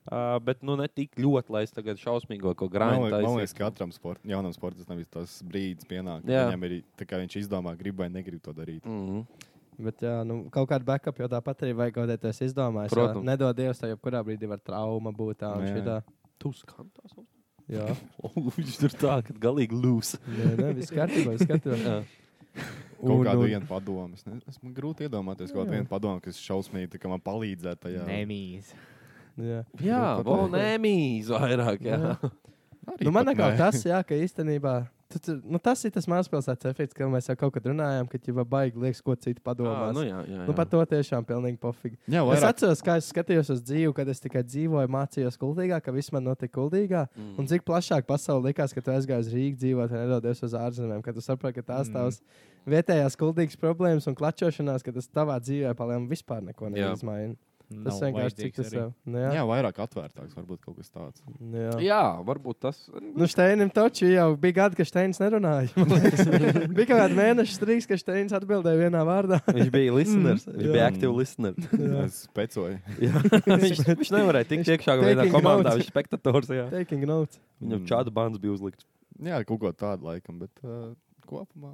uh, bet, nu, ne tik ļoti, lai es tagad šausmīgo kaut ko
Man
grāmatu
liek- man liekas, ka katram sport, jaunam sportam ir tas brīdis, pienāk, kad
Jā.
viņam ir tā kā viņš izdomā, grib vai negrib to darīt.
Mm -hmm.
Bet jā, nu, kaut kāda backup jau tāpat arī vajag, kaut kādā tas izdomājis. jo
Protams.
Nedod Dievs, tā jebkurā brīdī var trauma būt tā un
Jā, jā.
šitā.
Tu skan tā, savu-
Jā,
O, viņš tur tā, ka galīgi lūs.
nē, nē, viss kārtībā, viss kārtībā.
Kaut
Un-
kādu
un-
vienu padomu. Es ne- Es man grūti iedomāties, kaut kādu vienu padomu, kas šausmīgi tā kā man palīdzētu tajā.
Nemīz.
Jā.
Jā, volēmīs vairāk. Jā.
Arī
Nu, man
pat
liekas,
nē.
tas, jā, ka īstenībā tu, tu, nu, tas ir tas mazpilsētas efekts, ka mēs jau kaut kad runājām, ka jau baigi liekas, ko citi
Ā,
padomās.
nu, jā, jā, jā.
Nu, par to tiešām pilnīgi pofīgi.
Jā,
Es
vairāk,
atceros, kā es skatījos uz dzīvi, kad es tikai dzīvoju, mācījos gudrīgā, ka viss man notika gudrīgā. Mm. Un cik plašāk pasaule likās, ka tu aizgāji uz Rīgā, dzīvot, vai nedodies uz ārzemēm, kad tu saproti, ka tās mm. tavas vietējās gudrīgas problēmas un klačošanās, ka tas tavā dzīvē palēma vispār neko
Jā.
neizmaina. Tas vienkārši cik tas jau. Nu
Jā. jā, vairāk atvērtāks, varbūt kaut kas tāds.
Nu Jā,
jā varbūt tas.
Nu, Steinim taču jau bija gadi, ka Steins nerunāja. man liekas. bija kaut kāda mēneša strīds, ka Steins atbildēja vienā vārdā.
Viņš bija listeners.
Mm,
Viņš
jā.
bija aktīvs listener.
Jā.
Es specoju.
Jā. viņš, viņš nevarēja tikt
Viņš
iekšā vienā
taking
komandā.
notes.
Viņš bija spektators. Jā.
Taking notes.
Viņam
Mm.
čāda bands bija uzlikts.
Jā, kaut ko tādu laikam, bet uh, kopumā.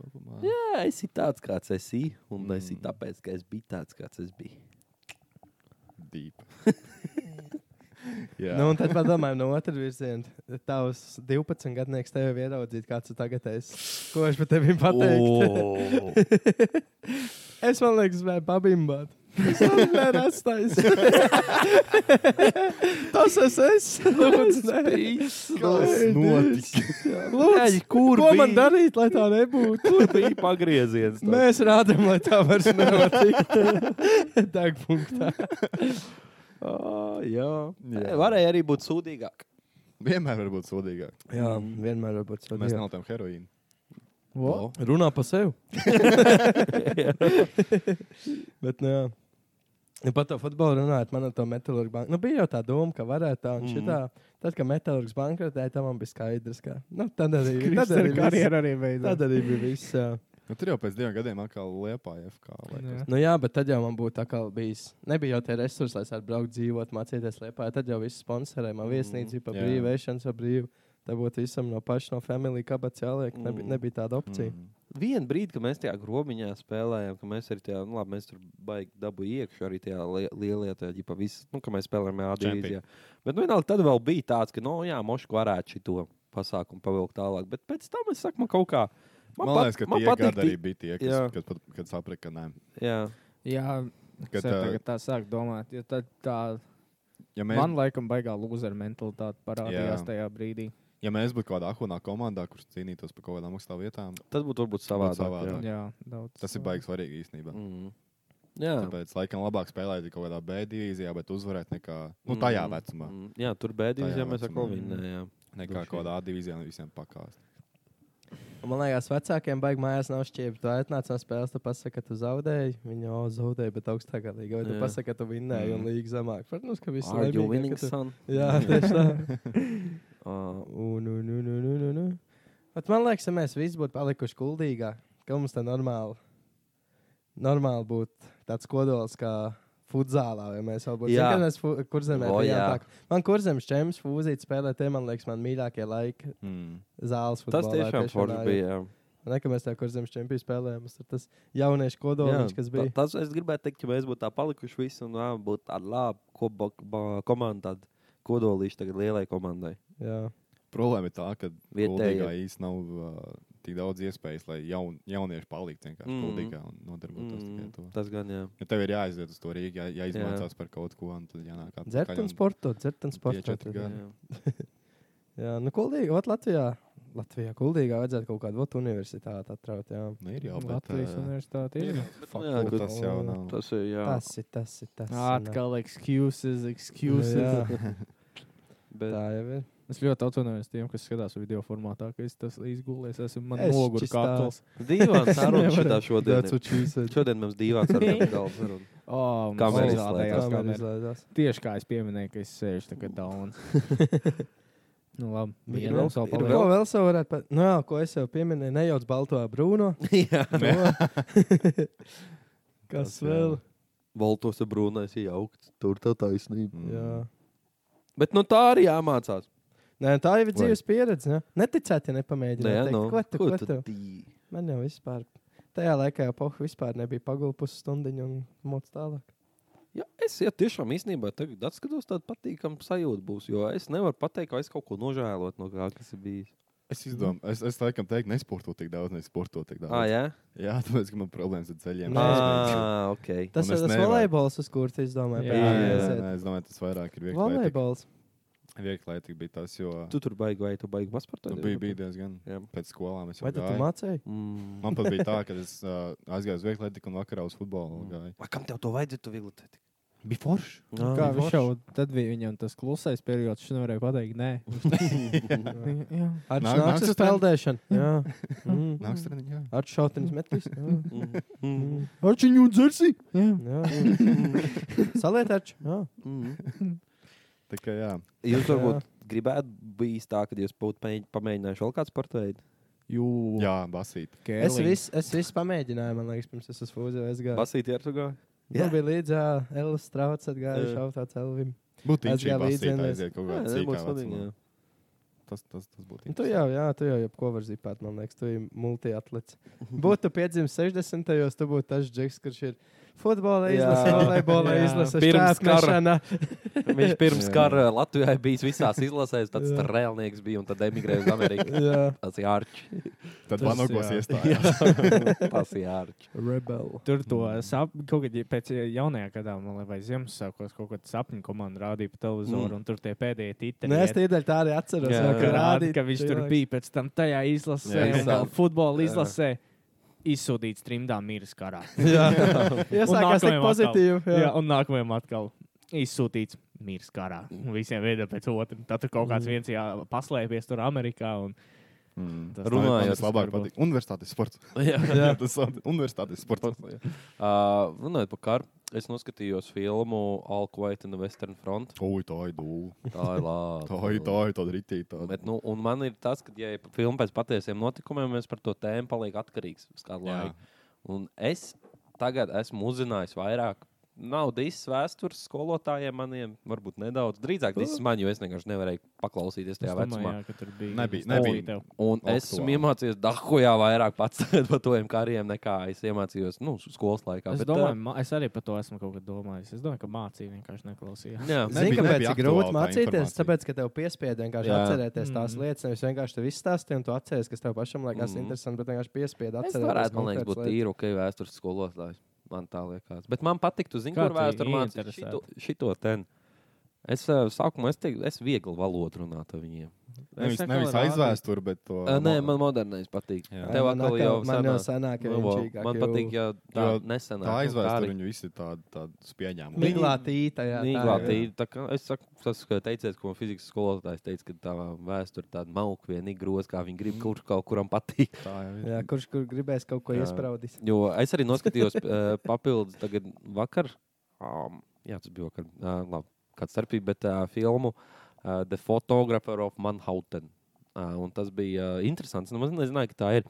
kopumā.
Jā, es esmu tāds, kāds es esmu. Un
Mm.
es esmu tāpēc, ka es biju tāds, kāds es biju.
Deep. Jā,
Nu, un tad padomājam no otras virzienas. Tavs 12 gadnieks tev ir ieraudzīt, kāds tu tagad esi. Ko viņš par tevi
Oh,
pateikt? es man liekas, vai pabimbāt. Es esmu atstājis. Tas es esmu. Lūdzu, nē.
Tas notika.
Lūdzu,
Kur
ko
bija?
man darīt, lai tā nebūtu?
Tur bija pagrieziens. tāds.
Mēs rādām, lai tā vairs nenotiek. Dagpunktā.
Ā, Jā,
Jā.
jā. varēja arī būt sūdīgāk.
vienmēr var būt sodīgāk.
Jā, vienmēr var būt
Mēs nav tam heroīnu.
Vo? Runā par sevi. Bet, nu, jā. Ja par to futbolu runājot, man ar to metālurgu banku. Nu, bija jau tā doma, ka varētu tā un šitā. Tad, kad metālurgs bankrotēja, tam man bija skaidrs, ka. Nu, tad arī tad arī
Kristāla
viss.
karjera arī beidzās.
Tad arī bija viss. Jā.
Nu, tur jau pēc diviem gadiem atkal liepā FK. vai kas.
Hm?
Jā.
Nu, jā, bet tad jau man būtu tā kā bijis. Nebija jau tie resursi, lai es varētu braukt, dzīvot, mācīties Lietpā. Tad jau viss sponsorēja
Mm,
man viesnīcu par
Jā.
brīvu, ēšanas par brīvu. Tā būtu visam no paša, no familijas kabatas jāliek. Nebija,
Mm.
nebija tāda opcija.
Mm.
Vienu brīdi, kad mēs tajā grobiņā spēlējām, ka mēs arī tajā, nu, labi, mēs tur baigi dabū iekšā arī tajā lie- lielajā, tajā, ģipa, visu, nu, ka mēs spēlējām A
Champion.
divīzijā. Bet, nu, vienalga, tad vēl bija tāds, ka, nu, jā, Moškva varētu šito pasākumu pavilkt tālāk. Bet pēc tam es saku, man kaut kā.
Man, man liekas, ka tie gadi arī
bija.
bija tie,
Jā.
kas, kas, pat- kad saprata, ka nē.
Jā,
Jā,
Kad,
kad,
ā,
tagad tā sāk domāt. jo Tad tā,
Ja
mēs...
mēs,
man laikam baigā lūzera mentalitāte
Jā.
parādījās jā. tajā brīdī.
ja mēs būtu kādā ahunā komandā, kurš cīnītos par kaut kādām augstām vietām,
tas būtu varbūt savādāk.
savādāk.
Jā.
Jā, daudz.
tas ir baigi svarīgi īstenībā.
Mm. jā.
Tāpēc laikam labāk spēlēt kaut kādā B divīzijā, bet uzvarēt nekā nu, tajā vecumā.
Mm. Jā, tur bēdīs,
Tajā
ja mēs ar
vecumā.
Kolvīnu. jā.
Nekā
Droši
kaut kādā A divīzijā un visiem pakāst.
Un Man liekas, vecākiem baigi mājās nav šķiet. Tu atnāc no spēles, tu pasaki, ka tu zaudēji. Viņi jau zaudēja, bet augstākā līnija. Vai tu
Jā.
pasaki, ka tu vinnēji
Mm.
un līga zemāk? Protams, ka viss
Are you
laimīgi,
winning,
ka tu-
son?
Jā, tieši tā.
Uh,
Un, un, un, un, un, un, un. Bet nu, man liekas, ja mēs visi būtu palikuši kuldīgāk, ka mums tā normāli, normāli būtu tāds kodols kā futzālā, ja mēs vēl būtu.
Jā.
Zini, kad mēs fu- kurzemē
O,
bijām
jā.
tā. Man kurzems čems fūzīt spēlē, tie man liekas, man mīļākie laiki
Mm.
zāles
tas
futbolā.
tiešām forši
jā.
bija. jā.
Ne, ka mēs tajā kurzemes čempionā spēlējām, tas ir tas jauniešu kodols, kas bija.
tā- Tas, es gribēju teikt, ja mēs būtu tā palikuši visi un jā, būtu tāda laba koba- ba- komanda, tad kodolīši tagad lielai komandai.
Jā,
Problēma ir tā, ka
Vietējie.
Latvijā īstenībā nav uh, tik daudz iespējas, lai jaun, jaunieši paliktu vienkārši
Mm.
mm. Latvijā un nodarbotos mm. tikai ar to.
tas gan jā.
Ja tev ir jāaiziet uz to Rīgā, jā, jāizmācās jā. par kaut ko, un tad jānāk atpakaļ.
dzert un sportot, dzert un sportot.
četri
Jā,
gadi.
jā.
jā. nu, kuldīgi, ot, Latvijā. Latvijā kuldīgā vajadzētu kaut kādu ot, universitāti attraut. Jā.
Nu, ir jau bet,
Latvijas
ā,
universitāte ir.
fuck,
jā,
nu,
bet-
tas jau nav.
Tas ir jā.
Tas ir tas, ir tas. ir, nē.
Atkal excuses,
Nu,
excuses.
jā,
bet,
tā jau ir.
Es ļoti atvainojos tiem, kas skatās video formātā, ka es tas izgulēju, es esmu
Es
nogurus
čistā-
katls.
Dīvains saruna
Nevarēju.
šitā šodien.
That's
ir.
what she said.
Šodien mums dīvains saruna. gala saruna. Kamera
Oh,
Kamera
izlaidās,
izlaidās, kamera
izlaidās.
izlaidās.
Tieši kā es pieminēju, ka es sēžu tagad daudz. nu, labi.
Ir
Vienam
vēl-
savu
ir
Ko
paliek.
vēl?
vēl sev varētu pat? Nu, jā, ko es jau pieminēju, nejauc balto Nu. brūno.
Jā.
Kas
Tas
vēl?
jā.
Voltos ir brūnais ir jaukts. Tur tā taisnība.
Mm.
Jā.
Bet nu tā arī jāmācās.
Nē, tā jau ir
Vai-
dzīves pieredze. Ne? Neticēt, ja nepamēģināt.
Nē,
teikt,
nu,
Ko tu, ko tu?
tī?
Man jau vispār. Tajā laikā jau pohu vispār nebija pagulējusi pusstundu un mūcis tālāk.
Jā, es ja, tiešām īstenībā tagad atskatos, tāda patīkama sajūta būs. Jo es nevaru pateikt, ka es kaut ko nožēlotu no kā, kas ir bijis.
Es izdomāju, es, es laikam teiktu, nesporto tik daudz, nesporto tik daudz.
Ah, jā,
jā, tāpēc, ka man problēmas ar ceļiem.
Nē.
Es
ah, ok.
Tas
Un
ir
es
tas
nevaru.
volejbols, uz kuru tu izdomāji.
Jā,
Jā, jā, jā,
aiziet.
nē, es domāju, tas vairāk ir vieglāk.
Volejbols.
Vieglāk bija tas, jo
Tu tur baigi, vai tu baigi maz par to?
nu, bija, bija diezgan
Jā.
pēc skolām. Es jau
Vai tu tur
gāju.
mācīji?
Mm.
Man pat bija tā, ka es uh, aizgāju uz vieglietu un vakarā uz futbolu gāju.
Vai kam tev to vajadzētu? Tu viegli teici.
Bija forši.
Ah, kā viņš jau tad bija viņam tas klusais periods, viņš nevarēja pateikt, nē,
Mm.
arī nāks uz peldēšanu. Jā, Mm.
Nāks treniņā, jā.
Ar šautenes metīs.
Mm.
Ar čiņu dzirsi. Jā, jā. Saliet arču. Jā.
Tā kā jā.
Mm. Jūs varbūt gribētu bijis tā, ka jūs būtu mēģi- pamēģinājuši vēl kādu sporta veidu?
Jū.
Jā, basīt.
Es visu es vis pamēģināju, man liekas, pirms es uz fūzi aizgāju.
Basīt, jā, tu gāji.
Jā, bija līdzi Elvis Strauts atgāja
Jā.
šautā Elvim.
Būtu
Es
īsi
gāju līdzi
basīt
vienreiz.
aiziet kaut
Jā,
kādā
tas būtu
cīkā
svarīgi,
vecumā.
jā.
Tas, tas, tas būtu
Nu, Tu jau, jā, tu jau jebko var zīmēt, man liekas, tu esi multiatlets. Būtu piedzimis 60. gados, tu būtu tas džeks, kurš ir futbola
Jā.
izlase, volejbola
Jā.
izlase,
Pirms
šķērsmešanā.
Viņš pirms
Jā.
kara Latvijā bija visās izlasēs, tāds
Jā.
strēlnieks bija un tad emigrēja uz Ameriku.
Jā,
Tas ir ārķis.
Tas
Tad vanokos
jā.
iestājās.
Tas ir ārķis.
rebel.
Tur to sapņu, kaut kad ja- pēc ja- jaunajā gadā, man liekas, vai Ziemassvētkos kaut kāda sapņu komanda rādīja pa televizoru,
Mm.
mm. un tur tie pēdējie titri.
Nē, es tādēļ tā arī atceros. Jā,
Jā.
Ka
ka
rādi,
rādīt,
ka viņš tur
cilvēks.
bija pēc tam tajā izlasē,
Jā.
un vēl futbola
Jā.
izlasē. Izsūtīts trimdā mīras karā.
Jā,
Un
iesākās tik
nākamajam
pozitīvi.
Jā. jā, un nākamajam atkal izsūtīts mīras karā. Un Visiem veidiem pēc otra. Tad tur kaut kāds viens jā, paslēpies tur Amerikā. Un... Tas
Runājot,
Mm, tas labāk
varbūt.
patīk. Universitātes sports.
Jā.
Jā, tas ir universitātes sports.
Uh, runājot par karu, es noskatījos filmu All Quiet on the Western Front.
Oi, tā ir dūla.
Tā ir labi.
Tā ir tā, ir tāda ritīta.
Bet, nu, un man ir tas, ka, ja ir filma pēc patiesiem notikumiem, es par to tēmu palieku atkarīgs uz kādu
Jā.
laiku. Un es tagad esmu uzzinājis vairāk. Nav disas vēstures skolotājiem, maniem varbūt nedaudz. Drīzāk disas man, jo es vienkārši nevarēju paklausīties
Es
tajā
domāju,
vecumā.
jā, ka tur bija.
Nebija-
Stāvī
nebija.
tev.
Un es esmu
Aktuāli.
iemācījies Dahojā vairāk pats par tiem kariem nekā es iemācījos nu, skolas laikā.
Es
Bet,
domāju, ma- es arī par to esmu kaut kad domājis. Es domāju, ka mācīja vienkārši neklausījās.
ā, jā,
Ne-
Zini,
Nebija-
kāpēc
nebija
ir grūti
aktuāla tā
mācīties?
informācija.
Tāpēc, ka tev piespiež vienkārši
Jā.
atcerēties tās
Mm.
Mhm.
lietas. Nevis vienkārši tev izstāstīja, un tu atceries, kas tev pašam liekas
Mhm.
interesanti, bet vienkārši piespiež
Es
atcerēties.
varētu, man liekas,
konkrētas
būt
lietas.
tīri ok, vēstures skolotājs. Man tā liekas. Bet man patīk, tu zini,
Kā
kur
tu
vēsture mācīja
ieinteresēti?
šito, šito ten. Es uh, sākumā es teiktu, es viegli valodu runātu ar viņiem.
Nevis,
Es
nevis
atkal rādu.
aizvēstur, bet to.
Uh, nē, man modernais patīk.
Jā.
Tev
Man
atkal jau
man jau
sanāk.
senāk,
Nu, vēl.
jau
Man patīk, ja tā
Jo
nesenā.
Tā aizvēstur,
viņu.
viņu visi tādi tādi pieņēmumi.
Miglā tīta, jā. tā
Nīglā
ir.
tīri. tā kā- Es saku, tas, ka teicēt, ko man fizikas skolotājs teica, ka tā vēsture tāda mauka vienīgi groz, kā viņi grib, kurš kaut kuram patīk.
Tā jau ir.
Jā, kurš kur gribēs kaut ko
Jā.
iespraudīt?
Jo es arī noskatījos eh, papildus tagad vakar. Um, jā, tas bija vakar. Uh, labi, kāds starpība, bet uh, filmu uh, The Photographer of Manhattan. Uh, un tas bija uh, interesants. Nu, es nezināju, ka tā ir.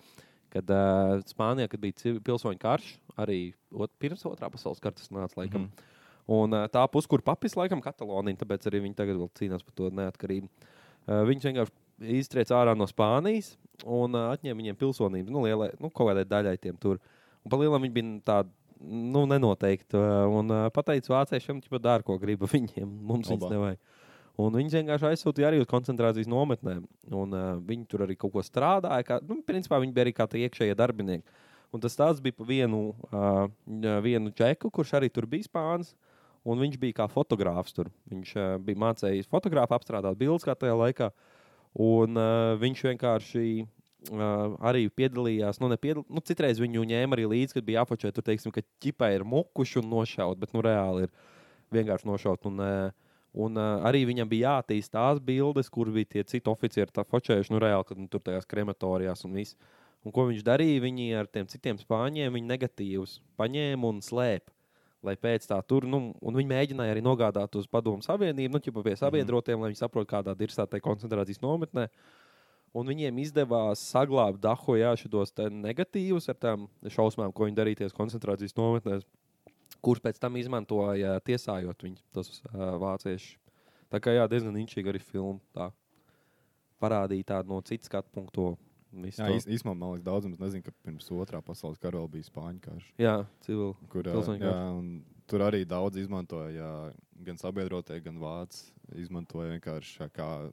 Kad uh, Spānijā kad bija civi- pilsoņu karš, arī ot, pirms otrā pasaules kara tas nāca laikam. Mm. Un uh, tā puskura papis, laikam, Katalonija, tāpēc arī viņi tagad vēl cīnās par to neatkarību. Uh, viņus vienkārši iztrieca ārā no Spānijas un uh, atņēma viņiem pilsonību. Nu, lielai, nu, kaut kādai daļai tiem tur. Un pa lielam viņi bija tādi. Nu, nenoteikti. uh, Un uh, pateicu vāciešiem, ka dara, ko griba viņiem. Mums
Labā.
viņas nevajag. Un viņas vienkārši aizsūtīja arī uz koncentrācijas nometnēm. Un, uh, viņi tur arī kaut ko strādāja. Kā, nu, principā viņi bija arī kā tie iekšējie darbinieki. Un tas tāds bija pa vienu, uh, vienu čeku, kurš arī tur bija spāns. Un viņš bija kā fotogrāfs tur. Viņš uh, bija mācījis fotografu apstrādāt bildes kā tajā laikā. Un uh, viņš vienkārši uh, arī piedalījās. Nu, nepiedal... nu, citreiz viņu ņēma arī līdzi, kad bija apakšā. Tur teiksim, ka ķipa ir mukuši un nošaut, bet nu, reāli ir vienkārši nošaut. Un, uh, Un uh, arī viņam bija jātīst tās bildes, kur bija tie citi oficieri tā focējuši, nu, reāli, kad nu, tur tajās krematorijās un viss. Un ko viņš darīja? Viņi ar tiem citiem spāņiem viņa negatīvus paņēma un slēpa. Lai pēc tā tur, nu, un viņi mēģināja arī nogādāt uz padomu savienību, nu, jau pie sabiedrotiem, mm -hmm. lai viņi saprotu, kādā ir tā koncentrācijas nometnē. Un viņiem izdevās saglabāt Dahojā šos negatīvus ar tām šausmām, ko viņi darīja tajās koncentrācijas nometnēs kurš pēc tam izmantoja tiesājot viņu, tos uh, vāciešus. Tā kā jā, diezgan inčīga arī filma. Tā. Parādīja tādu no citas skatu punktu.
Jā, īs- īsumā, man liekas, daudzums nezinu, ka pirms otrā pasaules kara vēl bija spāņu karš.
jā civili.
kur, ā,
Pilsoņu
jā, un tur arī daudz izmantoja, gan sabiedrotie, gan vācis. Izmantoja vienkārši ā, kā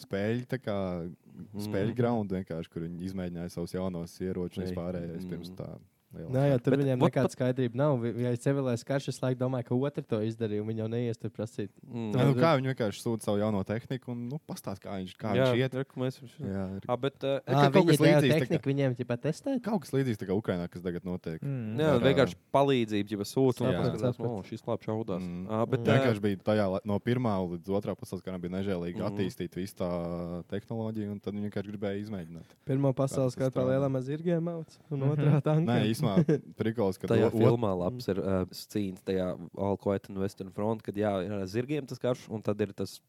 spēļu, tā kā
Mhm. Mm.
spēļu graudu, vienkārši, kur viņi izmēģināja savus jaunos ieročus un
Ei.
vispārējais pirms
Mm.
tā
Nē, jau tur
Bet
viņiem
vot
nekāda skaidrība nav. Vi- Ja ir civilais karš, es laikam domāju, ka otrs to izdarīja. Viņi jau neies tur prasīt.
Mm.
Nu, kā viņi vienkārši sūta savu jauno tehniku un nu, pastāsta, kā viņš, kā
jā,
viņš iet.
ir, ka mēs viņš...
Jā, ir.
ah, bet, uh,
kā
Ah,
kaut
viņi
kas
deva
līdzīgs tā kā-
tehniku, viņiem jau patestē.
Kaut kas līdzīgs tā kā Ukrainā, kas tagad notiek.
Mm.
Jā,
Ar,
vienkārši palīdzība, ja sūta.
Jā.
Jā, tas
Sapratu.
ir labi. Šaudās. Mm.
Mm.
Ah, bet,
Tā vienkārši bija tajā, lai- no pirmā līdz otrā pasaules kara bija nežēlīgi
Mhm.
mm. attīstīt visu tā tehnoloģiju, un tad viņi vienkārši gribēja izmēģināt.
Pirmā pasaules
Kā
kara
tas
tā Mhm.
tā?
lielā mazirgiem mauc, un otrā tankā.
Nē, īstenībā prikals, ka
Tajā
o- o-
filmā labs ir uh, cīņas, tajā All Quiet and Western Front, kad jā, ir ar zirgiem tas karš, un tad ir tas,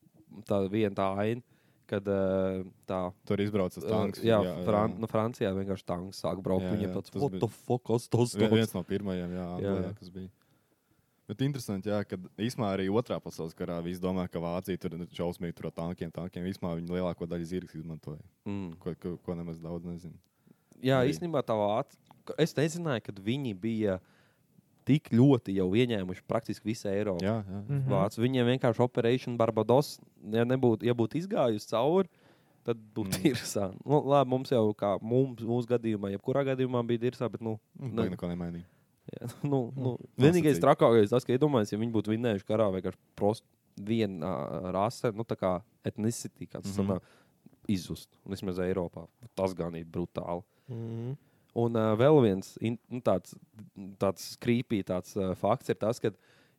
tā viena tā aina, kad uh, tā.
tur izbraucas
uh,
tanks.
jā, Fran nu, Francijā vienkārši tanks sāk braukt.
Jā, jā,
Viņam tāds
tas
"What
bija-
the fuck, kas tas
Vi-
tāds
viens no pirmajiem, jā,
Jā,
Anglijā,
jā.
kas bija. Bet interesanti, jā, ka īsumā arī otrā pasaules karā viss domā, ka Vācija tur ir šausmīgi tur ar tankiem, tankiem. Vispār viņi lielāko daļu zirgs izmantoja,
Mm.
ko, ko, ko nemaz daudz nezinu.
Jā,
Arī.
īstenībā tā vāca. Es nezināju, ka viņi bija tik ļoti jau ieņēmuši praktiski visu Eiropu.
Jā, jā.
Mhm.
Vācu. Viņiem vienkārši Operation Barbados, ja nebūtu ja būtu izgājusi cauri, tad būtu
Mm.
īrsā. Nu, labi, mums jau kā mums, mūsu gadījumā, jebkurā gadījumā bija īrsā, bet nu,
Nu,
Ne.
tā Neko nemainīja.
jā, nu, nu,
Mm.
vienīgais
Nosacīt.
trakākais tas, ka iedomājieties, ja viņi būtu vinnējuši karā vienkārši prost viena ā, rase, nu tā kā etnisitī, kāds mm
Mhm.
-hmm. izzust, vismaz Eiropā. Tas gan ir brutāli.
Mm.
Mhm.
Un uh, vēl viens in, nu, tāds, tāds krīpī tāds, uh, fakts ir tas, ka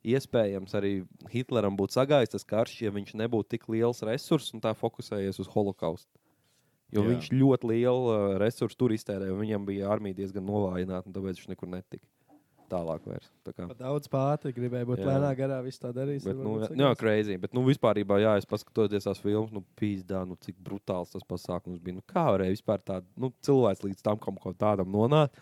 iespējams arī Hitleram būtu sagājis tas karš, ja viņš nebūtu tik liels resurss un tā fokusējies uz holokaustu.
Jā.
Jo Jā. viņš ļoti lielu uh, resursu tur iztērēja, un viņam bija armija diezgan novājināta, un tāpēc viņš nekur netika tālāk. Vairs, tā kā.
Pa daudz pāri gribēja būt
Jā.
lēnā garā, viss tā darīs.
Bet,
varbūt
nu, jā,
būs
nu, jā,
sakās.
crazy. Bet, nu, vispār, jā, es paskatījos tās filmas, nu, pīzdā, nu, cik brutāls tas pasākums bija. Nu, kā varēja vispār tādu nu, cilvēku līdz tam kaut kam tādam nonākt?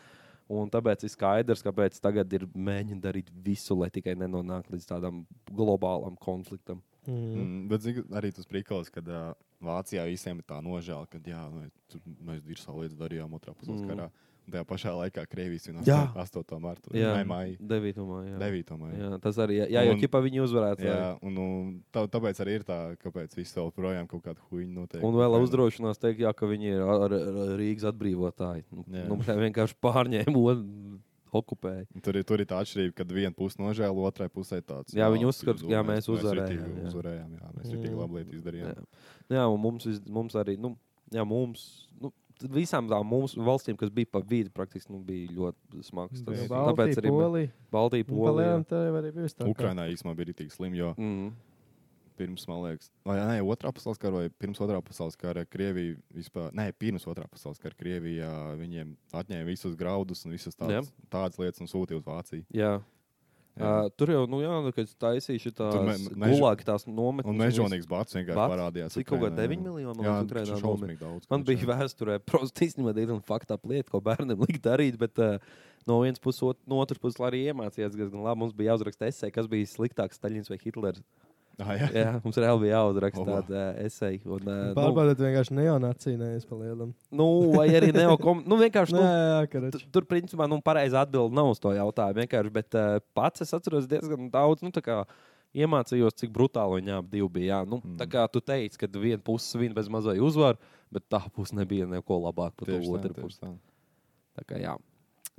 Un tāpēc ir skaidrs, kāpēc tagad ir mēģinājums darīt visu, lai tikai nenonāktu līdz tādam globālam konfliktam.
Mm.
Mm, bet zini, arī tas prikals, ka uh, Vācijā visiem ir tā nožēla, ka jā, nu, tur mēs ir savu lietu darījām otrā pasaules
Mm.
mm. karā. Un tajā pašā laikā Krievijas un
Jā.
8. martā. Jā, maija.
9. maijā.
9. maija.
Jā, tas arī, jā, jo
Un-
ķipa viņi uzvarētu.
Jā,
Jā.
un, un tā, tāpēc arī ir tā, kāpēc viss vēl projām kaut kāda huīņa notiek.
Un vēl
Ukrainā.
uzdrošinās teikt, jā, ka viņi ir ar, ar ar Rīgas atbrīvotāji. Nu,
Jā.
nu, vienkārši pārņēma un okupēja.
Un Tur ir, tur ir tā atšķirība, kad viena puse nožēlo, otrai pusē tāds.
Jā, viņi
"Vau,
uzskata,
jūs
jā,
uzvarējāt,
mēs uzvarējām,
ritīgi
jā.
uzvarējām, jā, mēs
Mm.
ir tik labi lietu izdarījām.
Jā. Jā, un mums, vis- mums arī, nu, jā, mums, nu, t- visām tām mūsu valstīm, kas bija pa vidu, praktiski nu, bija ļoti smags. Tas,
Jā,
tāpēc arī mē-
Polija.
Baltija
Polija.
polija.
Tā jau arī bija.
Ukrainā īstenībā bija tik slim, jo
Mm.
pirms, man liekas, vai ne, otrā pasaules kara vai pirms otrā pasaules kara Krievija vispār, ne, pirms otrā pasaules kara Krievijā viņiem atņēma visus graudus un visas tādas, tādas lietas un sūtīja uz Vāciju.
Jā.
Jā.
Uh, tur jau, nu, jā, nu, kad taisīšu tās
me- mežo-
gulāki tās nometnes.
Un mežonīgs bats vienkārši
Bats?
bats? parādījās.
Cik kaut kā
Ukrainā,
9
jā.
miljoni, man
Jā,
liekas, Ukrainā
tas ir
nomet.
šausmīgi daudz.
Man bija vēsturē, protams, īstenībā diezgan fakta lieta, ko bērnam likt darīt. Bet, uh, No vienas puses, ot- no otras puses, lai arī iemācījās diezgan labi. Mums bija jāuzraksta esē, kas bija sliktāks, Staļins vai Hitlers.
Ah, jā. Jā.
Jā, mums reāli bija jāuzraksta
Oba.
tāda uh, esē. Un, uh, nu,
Pārbaudiet, vienkārši neonācīnējies pa lielam.
Nu, vai arī neokom. Nu, vienkārši.
Nē,
Nu,
jā,
tu-
karač.
tur, principā, nu, pareizi atbild nav uz to jautājumu. Vienkārši, bet uh, pats es atceros diezgan daudz. Nu, tā kā Iemācījos, cik brutāli viņa abi divi bija. Jā. Nu, mm. Tā
Mm.
kā tu teici, ka viena puse svin bez mazai uzvaru, bet tā puse nebija neko labāka par to
Tieši tā,
otru
tieši
pusi.
tā.
Tā kā, jā,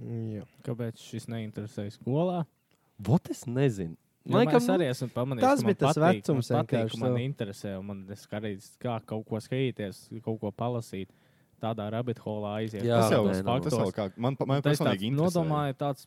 Jā.
Kāpēc šis neinteresēja skolā?
Vot es nezinu.
Jo
Laikam,
mēs
nu,
arī esam pamanījuši,
tas
ka
bija
man
tas
patīk,
vecums
man patīk,
vienkārši
ka man
tev.
interesē, un man es arī s- kā kaut ko skatīties, kaut ko palasīt. Tādā rabbit holā aiziet.
Jā,
Tas jau
kaut
nē, nu,
kādos
tas
faktos.
vēl kā, man, pa- man
Un tad es
personīgi
Nu, tāds
interesē.
Nodomāju, tāds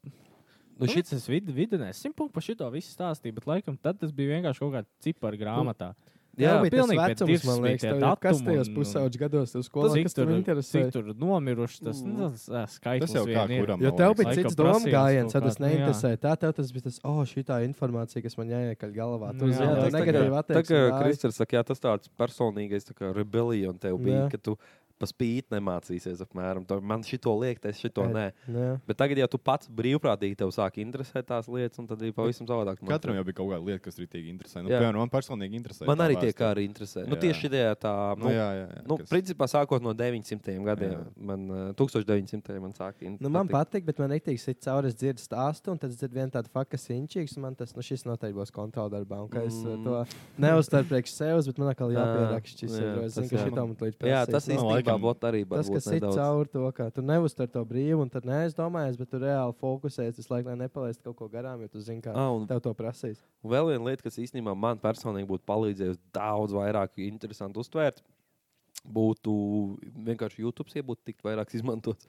nu, šit,
šis vid, vidienē simtpunkts par šito visu stāstīju, bet laikam tad tas bija vienkārši kaut kāda cipara
Nu,
grāmatā.
Jā,
Jā,
bija tas
pilnīgi, bet
vecums, man
dirsmi
liekas,
tie
tev jau kas
datumi
tajos
un-
pusauģi gados tev skolā,
cik
kas tev
tur-
interesē.
Cik tur nomiruši, tas,
Mm.
mm. tas, tas skaitlis
Tas jau kā
vien ir.
kuram.
Jo
man
tev
liekas.
bija
Laikam
cits domu
prasījums
gājiens,
kaut
tad tas
kāds, nu jā.
neinteresē. Tā tev tas bija tas, o, oh, šī informācija, kas man jāiekaļ galvā. Tu
Nu jā,
zini,
tas
tā
tā kā-
negatīvi
tā kā
attieksmi.
Kristers saka, jā, tas tāds personīgais tā kā rebellion tev bija,
Jā.
ka tu pa spīti nemācīsies apmēram. Tā, Man šito liek, es šito
Ei.
nē. Bet tagad, ja tu pats brīvprātīgi tev sāk interesēt tās lietas, un tad ir pavisam savādāk. manuprāt.
Katram jau bija kaut kāda lieta, kas ritīgi interesē. Nu,
Jā.
piemēram, man personīgi interesē.
man
tā
arī tie
vēsture.
kā arī interesē. Nu,
Jā.
tieši tajā tā,
Nu,
nu,
jā, jā, jā,
nu,
kas-
principā sākot no 900 gadiem,
Jā.
man ā, 1900 man sāka
Nu, man patīk, bet man nepatīk, ka caur es dzirdu stāstu, un tad es dzirdu vienu tādu faktu, kas ir inčīgs. un Man tas nu, šis noteikti būs kontroldarbā. Un kā es mm.
Mm.
to neuzstāju priekš sevis, bet man atkal
Jā,
jāpierakst šis.
jā,
ir, jo Es
tas
zinu, ka
jā.
šī tam līdz
Jā, tas
Nu,
īstenībā tā būtu arī
tas,
varbūt
kas ir
nedaudz.
caur to, ka tu neuztur to brīvu, un tad neaizdomājies, bet tu reāli fokusējies visu laiku, lai nepalaistu kaut ko garām, jo tu zini, kā
Ah, un-
tev to prasīs.
Un Vēl viena lieta, kas īstenībā man personīgi būtu palīdzējusi daudz vairāk, interesantu uztvērt, būtu vienkārši YouTube iegūt, tikt vairāk izmantots.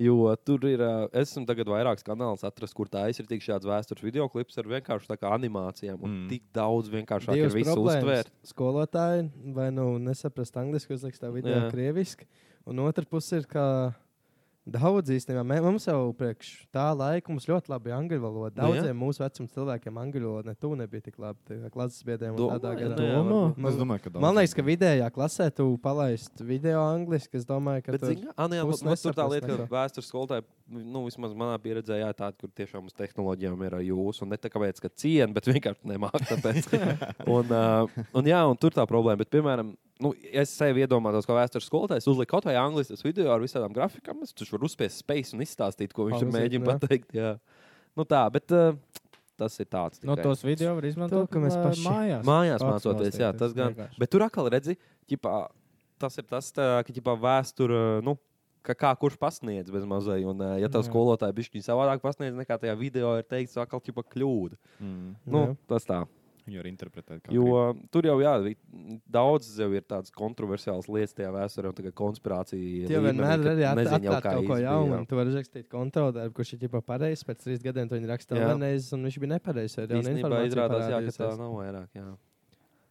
Jo tur ir, ā, es esmu tagad vairākus kanālus atrast, kur tā ir tik šāds vēstures video klips ar vienkārši tā kā animācijām. Un mm. tik daudz vienkāršāk ir
Divas
visu
problēmas.
uztvērt.
Skolotāji vai nu nesaprast angliski, uzliks tā video
Jā.
Jā. krieviski. Un otra puse ir, ka daudz īstenībā mē- mums jau priekš tā laika mums ļoti labi angļu valoda.
Nu, jā.
Daudziem mūsu vecuma cilvēkiem angļu valoda ne tu nebija tik labi. tā kā Klases biedriem un
Domā-
tādā gadā.
Domā?
Man-
Nu, Es domāju, ka
Man
daudziem.
liekas, ka vidējā klasē tu palaist video angliski. Es domāju, ka
Bet,
tur
zini, Anna, jā,
pusi
mums tur tā
nesaprast
lieta, ka
neko.
vēstures skolotāji, nu, vismaz manā pieredzē, jā, tāda, kur tiešām uz tehnoloģijām ir ā, jūs, un ne tāpēc, ka cienu, bet vienkārši nemāķi tāpēc. un, uh, un, jā, un tur tā problēma. Bet, piemēram, nu, es sev iedomājos, ka vēstures skolotājs uzlika kaut vai angļu video ar visām grafikām. Es tur varu uzspiest space un izstāstīt, ko viņš tur
Pauzīt,
mēģina
jā.
pateikt. Jā. Nu, tā, bet uh, tas ir tāds. tikai.
No Nu, tos video var izmantot,
To, ka mēs
lai
paši-
mājās,
Mājās
pats
mācoties, jā,
mācīties.
tas gan.
Vienkārši.
Bet tur atkal redzi, ķipā, tas ir tas, tā, ka ķipā, vēsture, nu, ka kā kurš pasniedz bez mazai. Un, ā, ja tā
Jā.
skolotāja bišķiņa savādāk pasniedz, nekā tajā video ir teikts, atkal ķipā kļūda.
Mm.
Nu,
Jā.
tas tā.
Viņu var interpretēt kā
Jo tur jau, jā, vi- daudz jau ir tādas kontroversiālas lietas tajā vēsturē, un tā kā konspirācija.
Tie
līmenī,
vienmēr
ka
ir
nezin jau,
jāatklāj kaut
kā
ko
īsti bija,
jaunu.
jā.
un Tu vari rakstīt kontroldarbu, kurš ir jau pareizs. Pēc trīs gadiem to viņi rakstīja
Jā.
vienreiz, un viņš bija nepareizs. Jā,
Īstenībā izrādās, jā, ka tā nav vairāk. Jā.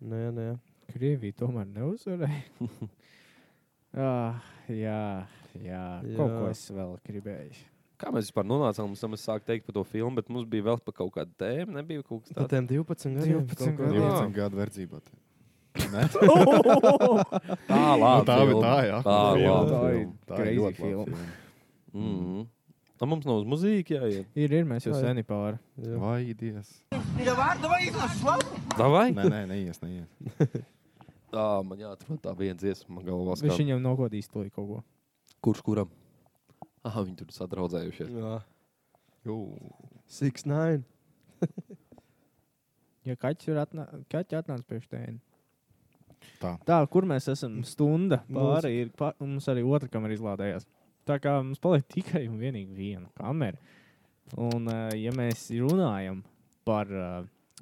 Nu, jā, nu, jā.
Krievija tomēr neuzvarēja. ah, jā, jā, jā, kaut ko
Jā.
es vēl gribēju.
Kā mēs vispār nonācām līdz tam, es sāku teikt par to filmu, bet mums bija vēl par kaut kādu tēmu. Nebija kaut kas
Par
tāds.
tiem 12 gadiem.
Ah.
12
kaut ko.
gadiem.
12 gadu verdzībā. Nē,
Tā labi,
tā ir
filma.
tā, jā.
Tā
Tā ir
laba
laba
Tā ir
filma. Tā ir
crazy
ļoti laba
filma.
filma.
Mhm. Tā mums nav uz muzīka jāiet.
Ir, ir, mēs jau
Jā, jā.
seni pāri.
Jā.
Vai dievs?
Davai?
Nē, nē, neies, neies.
Tā, man jāatrod tā viena dziesma man galvā.
Viņš
skan.
viņam nokodīs to kaut ko.
Kurš kuram? Ah, viņi tur sadraudzējušies.
Jā.
Jū.
6, 9.
Ja kaķis ir atnā... kaķi atnācis pie stēna.
Tā.
Tā, kur mēs esam? Stunda pāri ir. Pār... un Mums arī otra kamera izlādējās. Tā kā mums paliek tikai un vienīgi viena kamera. Un, eh, ja mēs runājam par eh,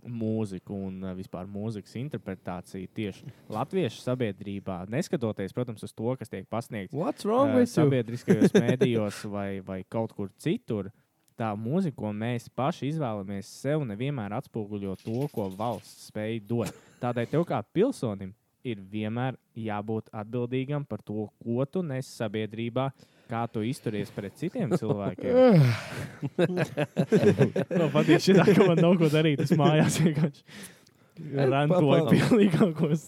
mūziku un eh, vispār mūzikas interpretāciju tieši latviešu sabiedrībā, neskatoties, protams, uz to, kas tiek pasniegts
What's
eh,
wrong with you?
sabiedriskajos mēdījos vai, vai kaut kur citur. Tā mūzika, ko mēs paši izvēlamies sev, nevienmēr atspoguļo to, ko valsts spēj dot. Tādēļ tev kā pilsonim ir vienmēr jābūt atbildīgam par to, ko tu nes sabiedrībā, kā tu izturies pret citiem cilvēkiem. Man patīk, šitā, ka man nav ko darīt. Es mājās vienkārši rantoju
papaldu.
pilnīgākos.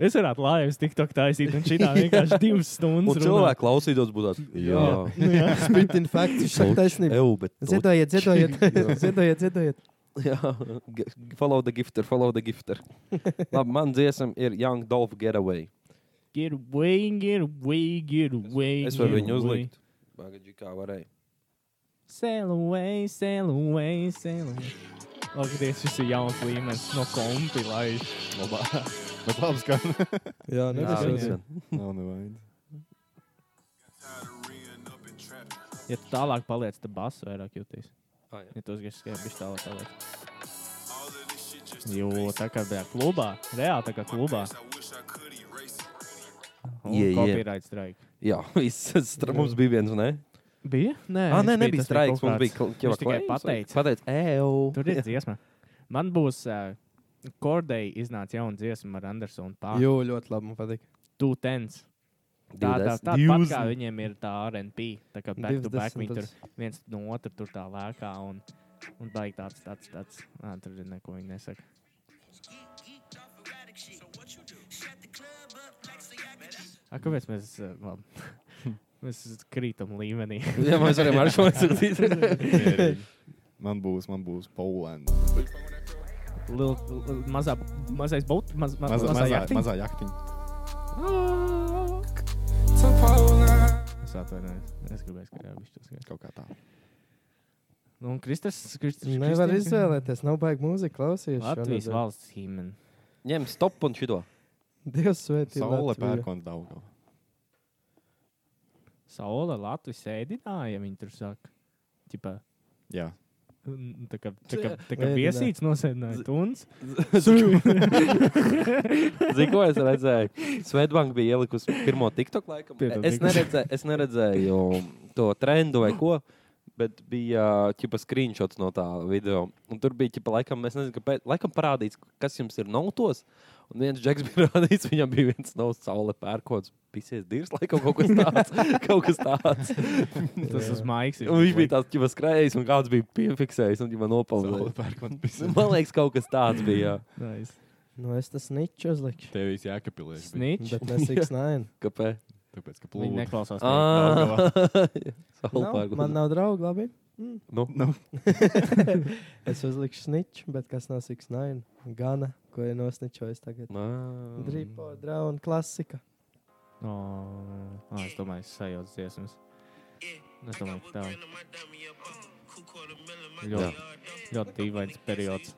Es varētu laivas TikTok taisīt un šitā vienkārši divas
Un
stundas. runāt.
cilvēki klausītos, būtu tāds, jā,
Nu, Spit in fact, viņš saka taisnību.
eju, bet. to-
Ziedojiet, ziedojiet, ziedojiet, ziedojiet.
Jā, g- follow the gifter, follow the gifter. Labi, man dziesma ir Young Dolph Getaway.
Get away, get away, get away.
Es varu
get
viņu
away.
uzlikt. Bagadži kā varēja.
Sail away, sail away, sail away. Lūkieties, šis ir jauns līmenis no kompi, lai
Labā. Bet labi skan.
Jā, nu,
Jā, nu,
nebija
jā.
šodien.
Nav nevainas.
ja tu tālāk paliec, tad bass vairāk jūtīs.
Ah, jā.
Ja tu uzgriežas skribi, viņš tālāk paliec. Jo tā kā bija klubā, reāli tā kā klubā. Un
Yeah, yeah.
copyright strike.
Jā, viss. stra- Mums bija viens, ne?
Bija? Nē,
Ah,
viņš
nē, nebija
tas
straiks.
kaut
Mums
kāds-
bija kl- ķeva
viņš tikai
klejs, vai-
pateica.
Pateica, eju.
Tur ir dziesma. Man būs uh, Kordeja iznāca jauna dziesma ar Andersonu Pārnu.
Jū, ļoti labi, man patīk.
Two tens. Tā, tā, tā pat kā viņiem ir tā RNP, tā kā back to back
20
viņi tur
tas.
viens no otra tur tā lēkā un, un baigi tāds, tāds, tāds. Ā, tur ir neko viņi nesaka. A, kāpēc mēs, eh, labi, mēs krītam līmenī?
Jā, mēs varam ar šo atsūtīt.
Mierīgi. Man būs, man būs Polanda.
Lil, lil, mazā, mazais bout, maz, ma,
Mazā,
mazā, mazā
mazā,
jahtiņa?
mazā jaktiņa.
Es atvainojos, es gribēju skatīt, viņš to skatīt.
Kaut kā tā.
Nu, un Kristus, Kristus,
Nevar
Kristus-
izvēlēties, nav baigi mūzika klausīties.
Latvijas valsts himna.
Ņem stop un šito.
Dievs svētī.
Saule
Latviju.
pērkons daudz.
Saula Latvijas ēdināja, viņi tur saka, tipā.
Jā.
Un Tā kā, tā kā, tā kā
Ēdināja.
piesīts nosēdināja
Z-
tuns.
Zinu, ko es redzēju. Svetbanka bija ielikusi pirmo TikTok laikam.
Piedod,
Es
Niks.
neredzēju, es neredzēju to trendu vai ko. Bet bija ķipa eh, screenshots no tā video. Un tur bija ķipa, laikam, es nezinu, kāpēc, laikam parādīts, kas jums ir nautos. Un viens džeks bija rādīts, viņam bija viens no saule pērkots, pisies dirs, laikam kaut kas tāds. kaut kas tāds.
Tas uz maiks ir
Un viņš bija tāds, ķipa skrējis, un kāds bija piefiksējis, un ķipa
Saule
nopelnījis.
pērkons pisies.
Man liekas, kaut kas tāds bija. jā.
Nice.
Nu, es tas niču uzlikšu.
Tev visi jākapilē.
Snitch.
Bet ne 6-9.
Kāpēc?
Tāpēc, ka
Viņi
plūda.
neklausās.
Ah.
Nav, man
Saulēpērkots.
nav draugu, labi. Mm.
Nu,
Nu.
Es uzlikšu sniču, bet kas nav 6-9? Gana, ko ir nosničojis tagad.
Nā.
Dripo, drauna, klasika.
Oh, oh, es domāju, es sajūtu dziesmas. Es domāju, ka tā ļoti, ļoti dīvains periods.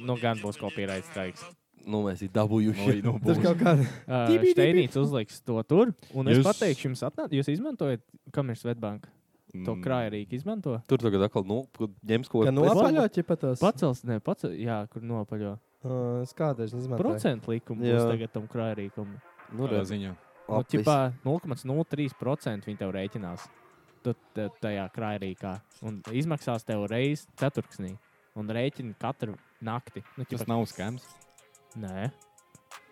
Nu, gan būs kopīrais straiks.
Nu, mēs esam dabūjuši.
Oi, nu,
Tur
būs.
kaut kāda.
Uh, Steinīts uzliks to tur, un es
Jūs-
jūs... pateikšu jums, atnāc, jūs izmantojat, kam ir Svetbanka. To
Mm.
krājrīku izmanto.
Tur tagad atkal nu, kad ņems kaut
Ka
ko
nopaļot, ja pat tos.
Pacels, ne, pacels, jā, kur nopaļo.
Uh, Es kādreiz izmantoju.
Procentu likumu
Jā.
būs tagad tam krājrīkam.
Nu,
Kādā ziņā?
Nu,
Lapis.
ķipā 0,03% viņi tev rēķinās. Tu te- tajā krājrīkā. Un izmaksās tev reizi ceturksnī. Un rēķini katru nakti. Nu,
Tas
ķipā,
nav skams.
Nē.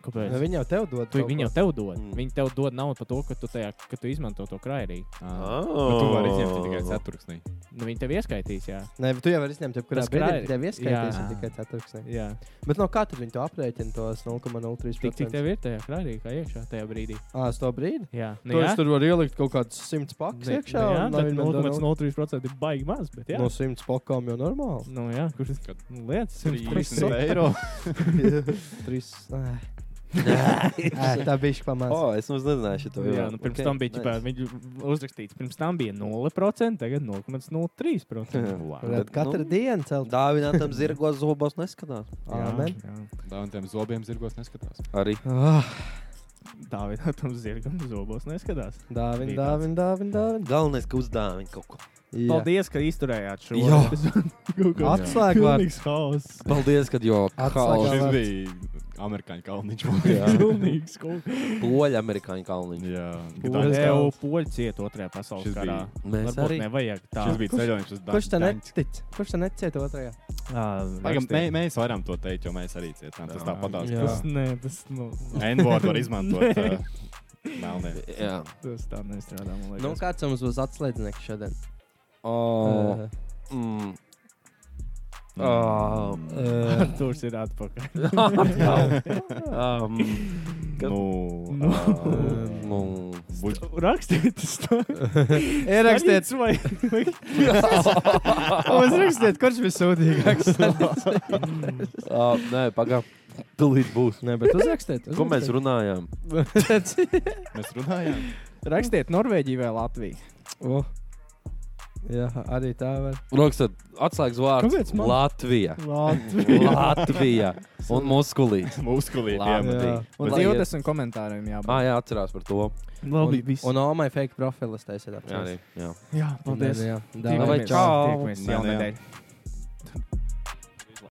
Nu,
Kāpēc?
Viņi jau tev dod.
Tu,
kaut
viņi
ko.
jau tev dod.
Mm.
Mm. Viņi tev dod naudu par to, ka tu, tajā, ka tu izmanto to krājrīku.
Ah. Bet Tu vari izņemt
Oh.
tikai ceturksnī.
Nu, viņi tev ieskaitīs, jā.
Nē, bet tu jau vari izņemt, jebkurā
Tas
brīdī.
krājri-
Tev ieskaitīsim
Jā.
tikai ceturksni.
jā.
Bet no kā tad viņi to aprēķina tos 0,03%?
Tik, cik tev ir tajā krājrīkā iekšā tajā brīdī.
Ā, uz to brīdi.
Jā, nu,
Nu,
jā.
es tur varu ielikt kaut kādas simts pakas
Nu,
iekšā.
jā,
un lai
tad
viņi man dod
0,03% ir baigi maz, bet jā.
No simts pakām jau normāli.
Nu, jā, kurš
Kad-
nu, lietas?
Trīs
30 eiro.
Trīs. ai. Ai, Tā bija pamāca.
Oh, es nu nezināju, šo to
Jā, nu, pirms okay, tam bija nice. viņa uzrakstīts, pirms tam bija 0%, tagad 0,03%. Wow.
Varētu
bet,
katru
nu,
dienu celt.
Dāvinātam zirgos zobos neskatās.
Amen.
Tā un tiem zobiem zirgos neskatās.
Arī.
Ah,
Tā vietā tam zirgam zobos neskatās.
Dāvin,
Bija
dāvin, dāvin, dāvin.
Galvenais, ka uzdāvina kaut ko.
Jā.
Jā.
Paldies, ka izturējāt šo
Jā.
video.
Atslēgvārds.
Pilnīgs hauss.
Paldies, kad jau
Atslēgā.
Šis
vārds.
bija amerikāņu kalniņš.
Pilnīgs kaut-
poļu amerikāņu kalniņu.
Jā,
Poļi.
Gdaņsk-
Tev poļi ciet otrajā pasaules
Šis
karā.
bija-
Mēs
Varbūt
arī.
nevajag tā.
šis bija ceļojums uz
Kurš te
Gdaņsku.
netic? Kurš te neciet otrajā?
Ā,
Tagad
rakstiet.
mē- Mēs varam to teikt, jo mēs arī cietām. Tas tāpatās.
Jā.
Tas, nē, tas, nu,
N-vārdu var izmantot. ā, Melnē.
Jā.
tas tā nestrādā, man liekas.
Nu, kāds mums būs atslēdznieks šodien?
Oh. Mm. Oh.
Arturs ir atpakaļ.
Um. Kad-
Nu,
Nu.
ā,
Nu.
buļ-
Rakstiet, tas tā.
Ierakstiet,
Staļins vai vai-
uzrakstiet, kurš bija sūdīgāks.
Ah, Nē, pagaidi. Tūlīt būs.
Nē, bet uzrakstiet.
Ko mēs runājām?
runājam?
Mēs runājām.
Rakstiet Norvēģiju vai Latviju.
Jā, arī tā var.
Rakstāt, atslēgas vārds
Kāpēc man-
Latvija.
Latvija.
Latvija un muskulīte.
Muskulītiem.
Labi.
Jā.
Un
Bet-
20 komentāriem jābūt.
Ah, jā, atcerās par to.
Labi, viss.
Un Omai fake profilis taisiet
Jā,
apkārt.
arī. Jā.
Jā, paldies.
Jā,
Tiekamies.
dāvā.
Vai čau.
Tiekamies
Nē,
jau
nē, jā.
nedēļ.